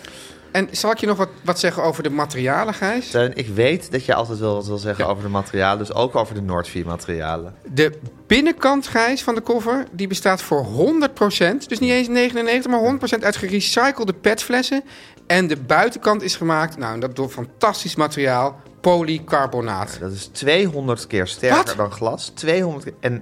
En zal ik je nog wat, wat zeggen over de materialen, Gijs?
Teun, ik weet dat je altijd wel wat wil zeggen over de materialen. Dus ook over de Noordvie materialen.
De binnenkant, Gijs, van de koffer, die bestaat voor 100%. Dus niet eens 99, maar 100% uit gerecyclede petflessen. En de buitenkant is gemaakt, nou, en dat door fantastisch materiaal, polycarbonaat.
Dat is 200 keer sterker
Wat?
dan glas. 200 keer- en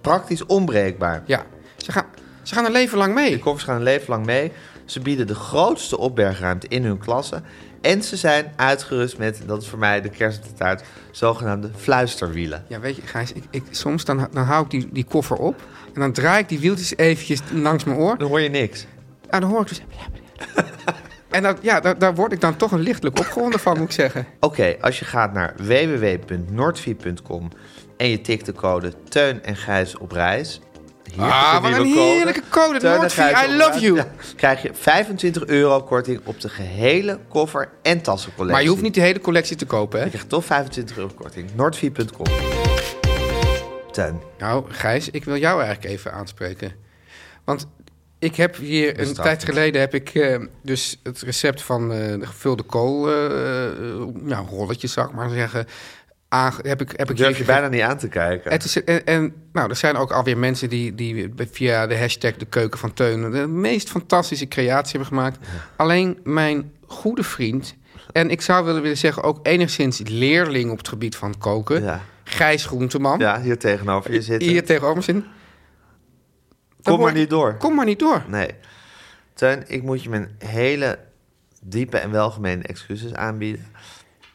praktisch onbreekbaar.
Ja, ze gaan, ze gaan een leven lang
De
mee.
koffers gaan een leven lang mee. Ze bieden de grootste opbergruimte in hun klasse. En ze zijn uitgerust met, dat is voor mij de kerst op de taart, zogenaamde fluisterwielen.
Ja, weet je, Gijs, ik, ik, soms dan, dan hou ik die, die koffer op... en dan draai ik die wieltjes eventjes langs mijn oor...
Dan hoor je niks.
en dan hoor
(laughs)
ik dus... En dat, ja, daar, daar word ik dan toch een lichtelijk opgewonden van, moet ik zeggen.
Oké, als je gaat naar www.noordvie.com en je tikt de code Teun en Gijs op reis. Hier is
Ah,
de
wat een
nieuwe
heerlijke code,
Teun en
Noordvie,
Gijs
I
op
love
reis.
you.
krijg je 25 euro korting op de gehele koffer- en tassencollectie.
Maar je hoeft niet de hele collectie te kopen, hè?
Je krijgt toch 25 euro korting. Noordvie.com. Teun.
Nou, Gijs, ik wil jou eigenlijk even aanspreken. Want ik heb hier een
Bestraft
tijd
niet.
geleden heb ik eh, dus het recept van eh, de gevulde kool, eh, eh, nou, rolletjes zou ik maar zeggen, aange- heb ik, heb ik
Durf
hier
je
ge-
bijna niet aan te kijken.
Het is, en, en nou, er zijn ook alweer mensen die, die via de hashtag de keuken van Teun de meest fantastische creatie hebben gemaakt. Alleen mijn goede vriend, en ik zou willen willen zeggen ook enigszins leerling op het gebied van koken,
Ja.
Gijs Groenteman.
Ja, hier tegenover je zitten.
Hier tegenover me zitten. Dan
Kom
hoor
maar
ik-
niet door.
Kom maar niet door.
Nee. Teun, ik moet je mijn hele diepe en welgemeende excuses aanbieden.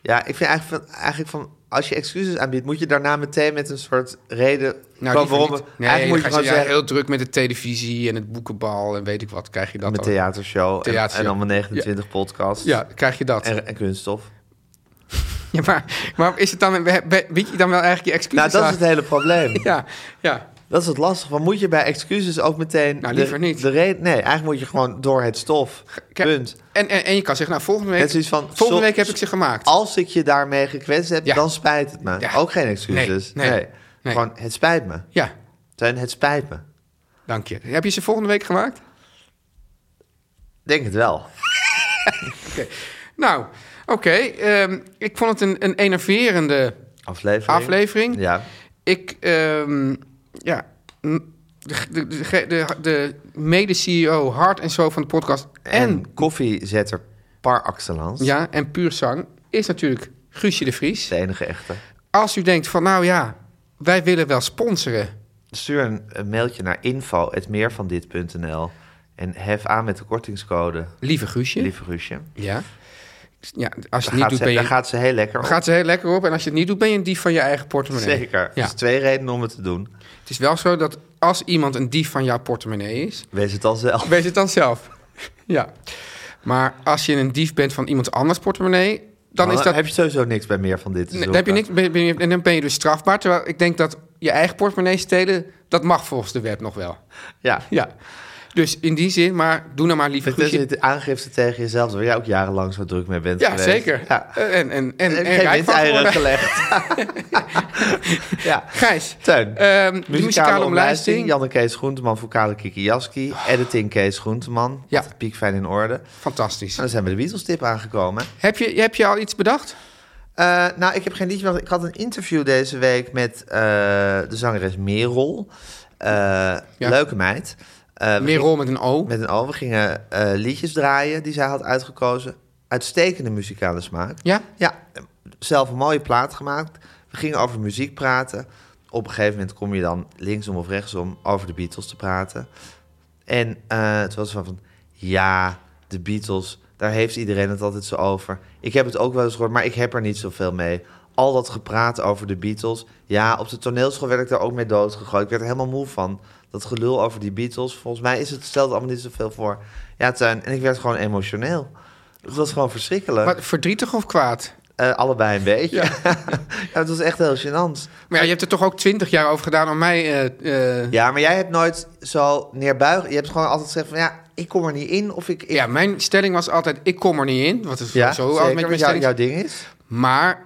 Ja, ik vind eigenlijk van, eigenlijk van als je excuses aanbiedt, moet je daarna meteen met een soort reden
Nou,
komen
die
waarom. we-
niet. Nee,
eigenlijk moet je
dan ga je
gewoon
ja,
zeggen
heel druk met de televisie en het boekenbal en weet ik wat. Krijg je dat
met
ook.
theatershow, en-
Theatershow.
en allemaal 29 podcasts
Ja, krijg je dat.
en, en kunststof.
(laughs) Ja, maar, maar is het dan, weet je dan wel eigenlijk je
Nou,
excuses
dat is
aan?
het hele probleem.
(laughs) Ja, ja.
Dat is het lastig. Want moet je bij excuses ook meteen.
Nou,
de-
liever niet.
De reden, nee, eigenlijk moet je gewoon door het stof.
Kijk,
Punt.
En, en, en je kan zeggen, nou, volgende week,
Het is iets van,
volgende
zo-
week heb ik ze gemaakt.
Als ik je daarmee gekwetst heb,
Ja.
dan spijt het me.
Ja.
Ook geen excuses.
Nee, nee, nee.
Gewoon, het spijt me.
Ja,
Teun, het spijt me.
dank je. Heb je ze volgende week gemaakt?
Denk het wel.
Nou, oké. ehm, ik vond het een, een enerverende
Aflevering.
aflevering.
Ja.
Ik, ehm, ja, m- de, de, de, de, de mede-CEO, hart en zo van de podcast
En,
en,
koffiezetter par excellence.
ja, en puur zang, is natuurlijk Guusje de Vries.
De enige echte.
Als u denkt van, nou ja, wij willen wel sponsoren.
Stuur een, een mailtje naar info.meervandit.nl en hef aan met de kortingscode.
Lieve Guusje.
Lieve Guusje.
Ja. ja. Als je
Daar
het niet
gaat,
doet,
ze,
ben je...
daar gaat ze heel lekker op.
Gaat ze heel lekker op. En als je het niet doet, ben je een dief van je eigen portemonnee.
Zeker.
Ja.
Dus twee redenen om het te doen.
Het is wel zo dat als iemand een dief van jouw portemonnee is,
Wees het dan zelf.
wees het dan zelf. (laughs) ja. Maar als je een dief bent van iemand anders portemonnee, dan
Maar
is dat...
heb je sowieso niks bij meer van dit. te
Nee, dan
zoeken.
heb je niks, ben je- ben je- en dan ben je dus strafbaar. Terwijl ik denk dat je eigen portemonnee stelen, dat mag volgens de wet nog wel.
Ja.
Ja. Dus in die zin, maar doe nou maar liever
Het is
Guusje.
het aangifte tegen jezelf, waar jij ook jarenlang zo druk mee bent
Ja,
geweest.
zeker.
Ja.
En, en, en, en,
En geen
rijk van
windeieren
geworden. (laughs)
gelegd. (laughs) ja.
Gijs,
Teun.
ehm, de muzikale omlijsting. Oh.
Janne Kees Groenteman, vocale Kiki Jaski. Editing Kees Groenteman.
Ja.
Altijd Piekfijn in orde. Nou,
Fantastisch.
dan zijn we de Beatles tip aangekomen.
Heb je, heb je al iets bedacht?
Eh, nou, ik heb geen liedje. maar Ik had een interview deze week met eh, de zangeres Merel. Eh, Leuke meid. Eh, we gingen-
Meer rol met een O.
Met een O. We gingen eh, liedjes draaien die zij had uitgekozen. Uitstekende muzikale smaak.
Ja?
Ja, zelf een mooie plaat gemaakt. We gingen over muziek praten. Op een gegeven moment kom je dan linksom of rechtsom over de Beatles te praten. En eh het was van, van, ja, de Beatles, daar heeft iedereen het altijd zo over. Ik heb het ook wel eens gehoord, maar ik heb er niet zoveel mee. Al dat gepraat over de Beatles. Ja, op de toneelschool werd ik daar ook mee doodgegooid. Ik werd er helemaal moe van. Dat gelul over die Beatles. Volgens mij is het, stelt het allemaal niet zoveel voor. Ja, Tuin, en ik werd gewoon emotioneel. Het was gewoon verschrikkelijk.
Wat, verdrietig of kwaad?
Eh, allebei een beetje. (laughs) Ja. het was echt heel gênant.
Maar ja, je hebt er toch ook twintig jaar over gedaan om mij... eh, eh, ja.
Ja, maar jij hebt nooit zo neerbuigen. Je hebt gewoon altijd gezegd van ja, ik kom er niet in of ik... ik
mijn stelling was altijd, ik kom er niet in. Wat is
ja,
zo altijd
zeker, wat
met mijn
jou-
stelling.
jouw ding is.
Maar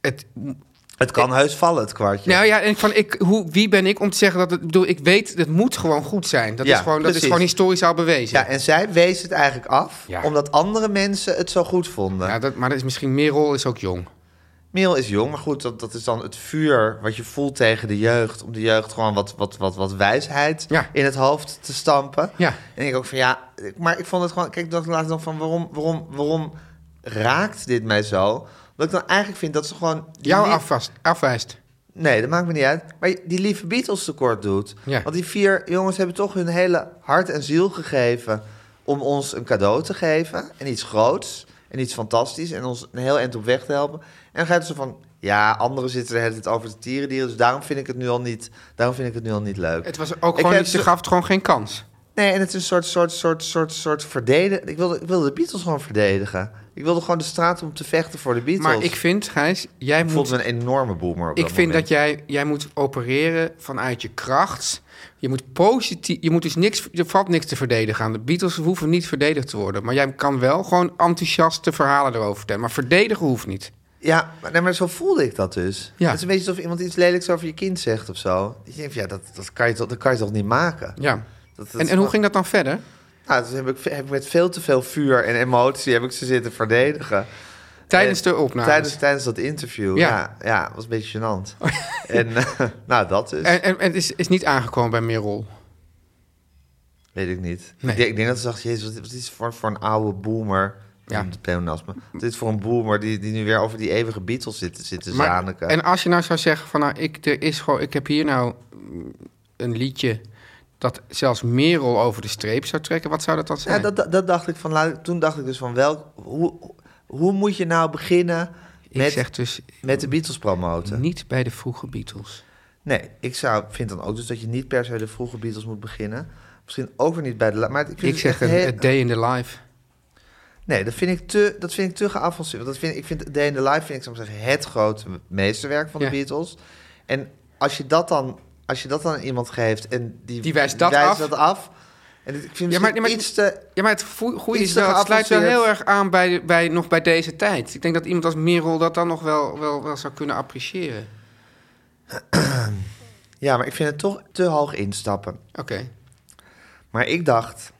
het,
Het kan heus vallen, het kwartje.
nou ja, en ik van, ik, hoe, wie ben ik om te zeggen dat het... Bedoel, ik weet, het moet gewoon goed zijn. Dat,
Ja,
is, gewoon, dat is
precies.
gewoon historisch al bewezen.
ja, en zij wees het eigenlijk af,
Ja.
omdat andere mensen het zo goed vonden.
Ja, Nou, dat, maar dat is misschien Merel is ook jong.
Merel is jong, maar goed, dat, dat is dan het vuur wat je voelt tegen de jeugd. Om de jeugd gewoon wat, wat, wat, wat wijsheid
Ja.
in het hoofd te stampen.
Ja.
En ik ook van ja, ik- maar ik vond het gewoon, kijk, dat laatst dan van waarom, waarom, waarom raakt dit mij zo? Dat ik dan eigenlijk vind dat ze gewoon. die
Jou
lief-
afvast, afwijst.
Nee, dat maakt me niet uit. Maar die lieve Beatles tekort doet.
Ja.
Want die vier jongens hebben toch hun hele hart en ziel gegeven om ons een cadeau te geven. En iets groots en iets fantastisch. En ons een heel eind op weg te helpen. En dan gaat het zo van. Ja, anderen zitten er het over de tierendieren. Dus daarom vind ik het nu al niet, daarom vind ik het nu al niet leuk.
Het was
Ik
ook gewoon,
heb
niet- ze
zo-
gaf het gewoon geen kans.
Nee, en het is een soort, soort, soort, soort, soort verdedigen. Ik wilde, ik wilde de Beatles gewoon verdedigen. Ik wilde gewoon de straat om te vechten voor de Beatles.
Maar ik vind, Gijs, jij
Ik
moet...
voelde me een enorme boomer op
Ik vind dat jij, jij moet opereren vanuit je kracht. Je moet positief. Je moet dus niks. Er valt niks te verdedigen aan. De Beatles hoeven niet verdedigd te worden. Maar jij kan wel gewoon enthousiaste verhalen erover vertellen. Maar verdedigen hoeft niet.
Ja, maar, nee, maar zo voelde ik dat dus.
Ja.
Het is een beetje alsof iemand iets lelijks over je kind zegt of zo. Ik denk van, ja, dat, dat, kan je toch, dat kan je toch niet maken?
Ja.
Dat, dat
En,
is
en hoe
gewoon-
ging dat dan verder?
Nou, dus heb ik, heb ik met veel te veel vuur en emotie heb ik ze zitten verdedigen.
Tijdens
Eh,
de opname.
Tijdens, tijdens dat interview,
Ja. Oh.
ja. Ja, het was een beetje gênant. (laughs) en eh, nou, dat dus.
En, en, en het is, is niet aangekomen bij Merel.
Weet ik niet.
Nee.
Ik, denk, ik denk dat ze dacht, jezus, wat, wat is dit voor, voor een oude boomer?
Ja.
Ja. Pleonasme. Dit is voor een boomer die, die nu weer over die eeuwige Beatles zit, zit te
Maar,
zaniken.
en als je nou zou zeggen: van nou, ik, er is gewoon, ik heb hier nou mm, een liedje. dat zelfs Merel over de streep zou trekken. Wat zou dat dan zijn?
Ja, dat, dat, dat dacht ik van. laat- Toen dacht ik dus van welk. Hoe, hoe moet je nou beginnen
ik
met,
zeg dus
met de Beatles promoten?
niet bij de vroege Beatles.
Nee, ik zou, vind dan ook dus dat je niet per se de vroege Beatles moet beginnen. Misschien ook weer niet bij de. la- Maar ik, vind
Ik
het
zeg
echt
een,
heel-
a day in the life.
Nee, dat vind ik te, dat vind ik te geavanceerd. Want dat vind, ik vind Day in the Life, vind ik, zou ik maar zeggen, het grote meesterwerk van de
Ja.
Beatles. En als je dat dan, als je dat dan aan iemand geeft en die,
Die wijst dat af.
dat af. En ik vind
Ja,
ja,
maar-
maar,
maar-
iets te...
Ja, maar het vo- goede
Iets
is
te
wel, het sluit wel
geavanceerd.
heel erg aan bij, bij, nog bij deze tijd. Ik denk dat iemand als Merel dat dan nog wel, wel, wel zou kunnen appreciëren.
Ja, maar ik vind het toch te hoog instappen.
Oké.
Maar ik dacht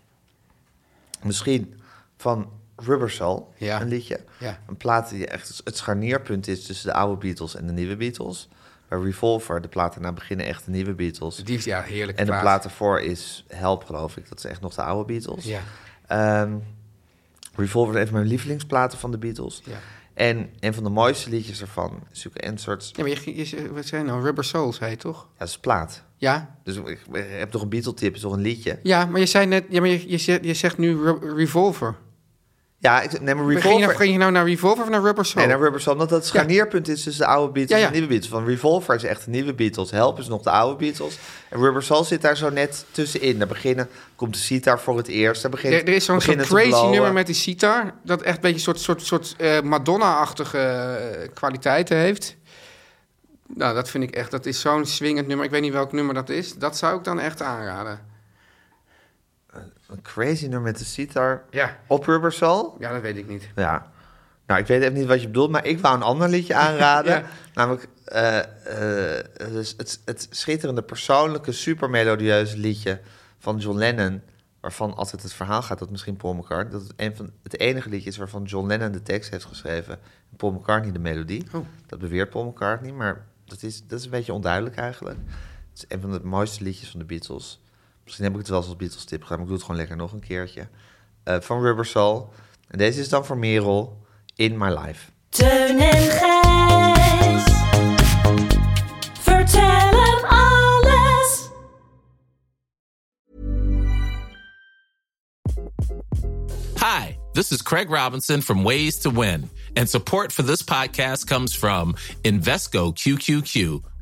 misschien van Rubber Soul,
Ja.
een liedje.
Ja.
Een plaat die echt het scharnierpunt is tussen de oude Beatles en de nieuwe Beatles. Bij Revolver, de plaat daarna beginnen echt de nieuwe Beatles.
Die is ja heerlijk.
En de plaat daarvoor is Help, geloof ik. Dat is echt nog de oude Beatles.
Ja.
Ehm, Revolver is een van mijn lievelingsplaten van de Beatles.
Ja.
En een van de mooiste liedjes ervan is natuurlijk een soort...
Ja, maar je, ging- je, zei- wat zijn nou? Rubber Soul, zei je toch?
Ja, dat is een plaat.
Ja?
Dus ik ik heb toch een Beatle-tip, is toch een liedje?
Ja, maar je zei net... Ja, maar je, je, zegt, je zegt nu Ru- Revolver.
Ja, ik neem een
Ging je, nou,
Revolver...
ging je nou naar Revolver of naar Rubber Soul?
Nee, naar Rubber Soul, omdat dat het
Ja.
scharnierpunt is tussen de oude Beatles
Ja, ja.
en de nieuwe Beatles. Van Revolver is echt de nieuwe Beatles, Help is nog de oude Beatles. En Rubber Soul zit daar zo net tussenin. Daar beginnen, komt de sitar voor het eerst. Daar begint,
er, er is zo'n zo'n
beginnen te
crazy
blowen.
nummer met die sitar. Dat echt een beetje soort, soort, soort eh, Madonna-achtige eh, kwaliteiten heeft. Nou, dat vind ik echt... Dat is zo'n swingend nummer. Ik weet niet welk nummer dat is. Dat zou ik dan echt aanraden.
Een crazy nummer met de sitar
Ja.
op Rubber Soul?
Ja, dat weet ik niet.
Ja. Nou, ik weet even niet wat je bedoelt, maar ik wou een ander liedje aanraden.
Ja.
Namelijk eh, eh, het, is- het, het schitterende, persoonlijke, supermelodieuze liedje van John Lennon. Waarvan altijd het verhaal gaat dat misschien Paul McCartney... dat het een van het enige liedje is waarvan John Lennon de tekst heeft geschreven... en Paul McCartney de melodie.
Oh.
Dat beweert Paul McCartney, maar dat is, dat is een beetje onduidelijk eigenlijk. Het is een van de mooiste liedjes van de Beatles. Misschien heb ik het wel eens als Beatles tip gedaan, maar ik doe het gewoon lekker nog een keertje. Eh, van Rubber Soul. En deze is dan voor Merel, In My Life.
Teun en Gijs. Vertel hem alles.
Hi, this is Craig Robinson from Ways to Win, and support for this podcast comes from Invesco QQQ,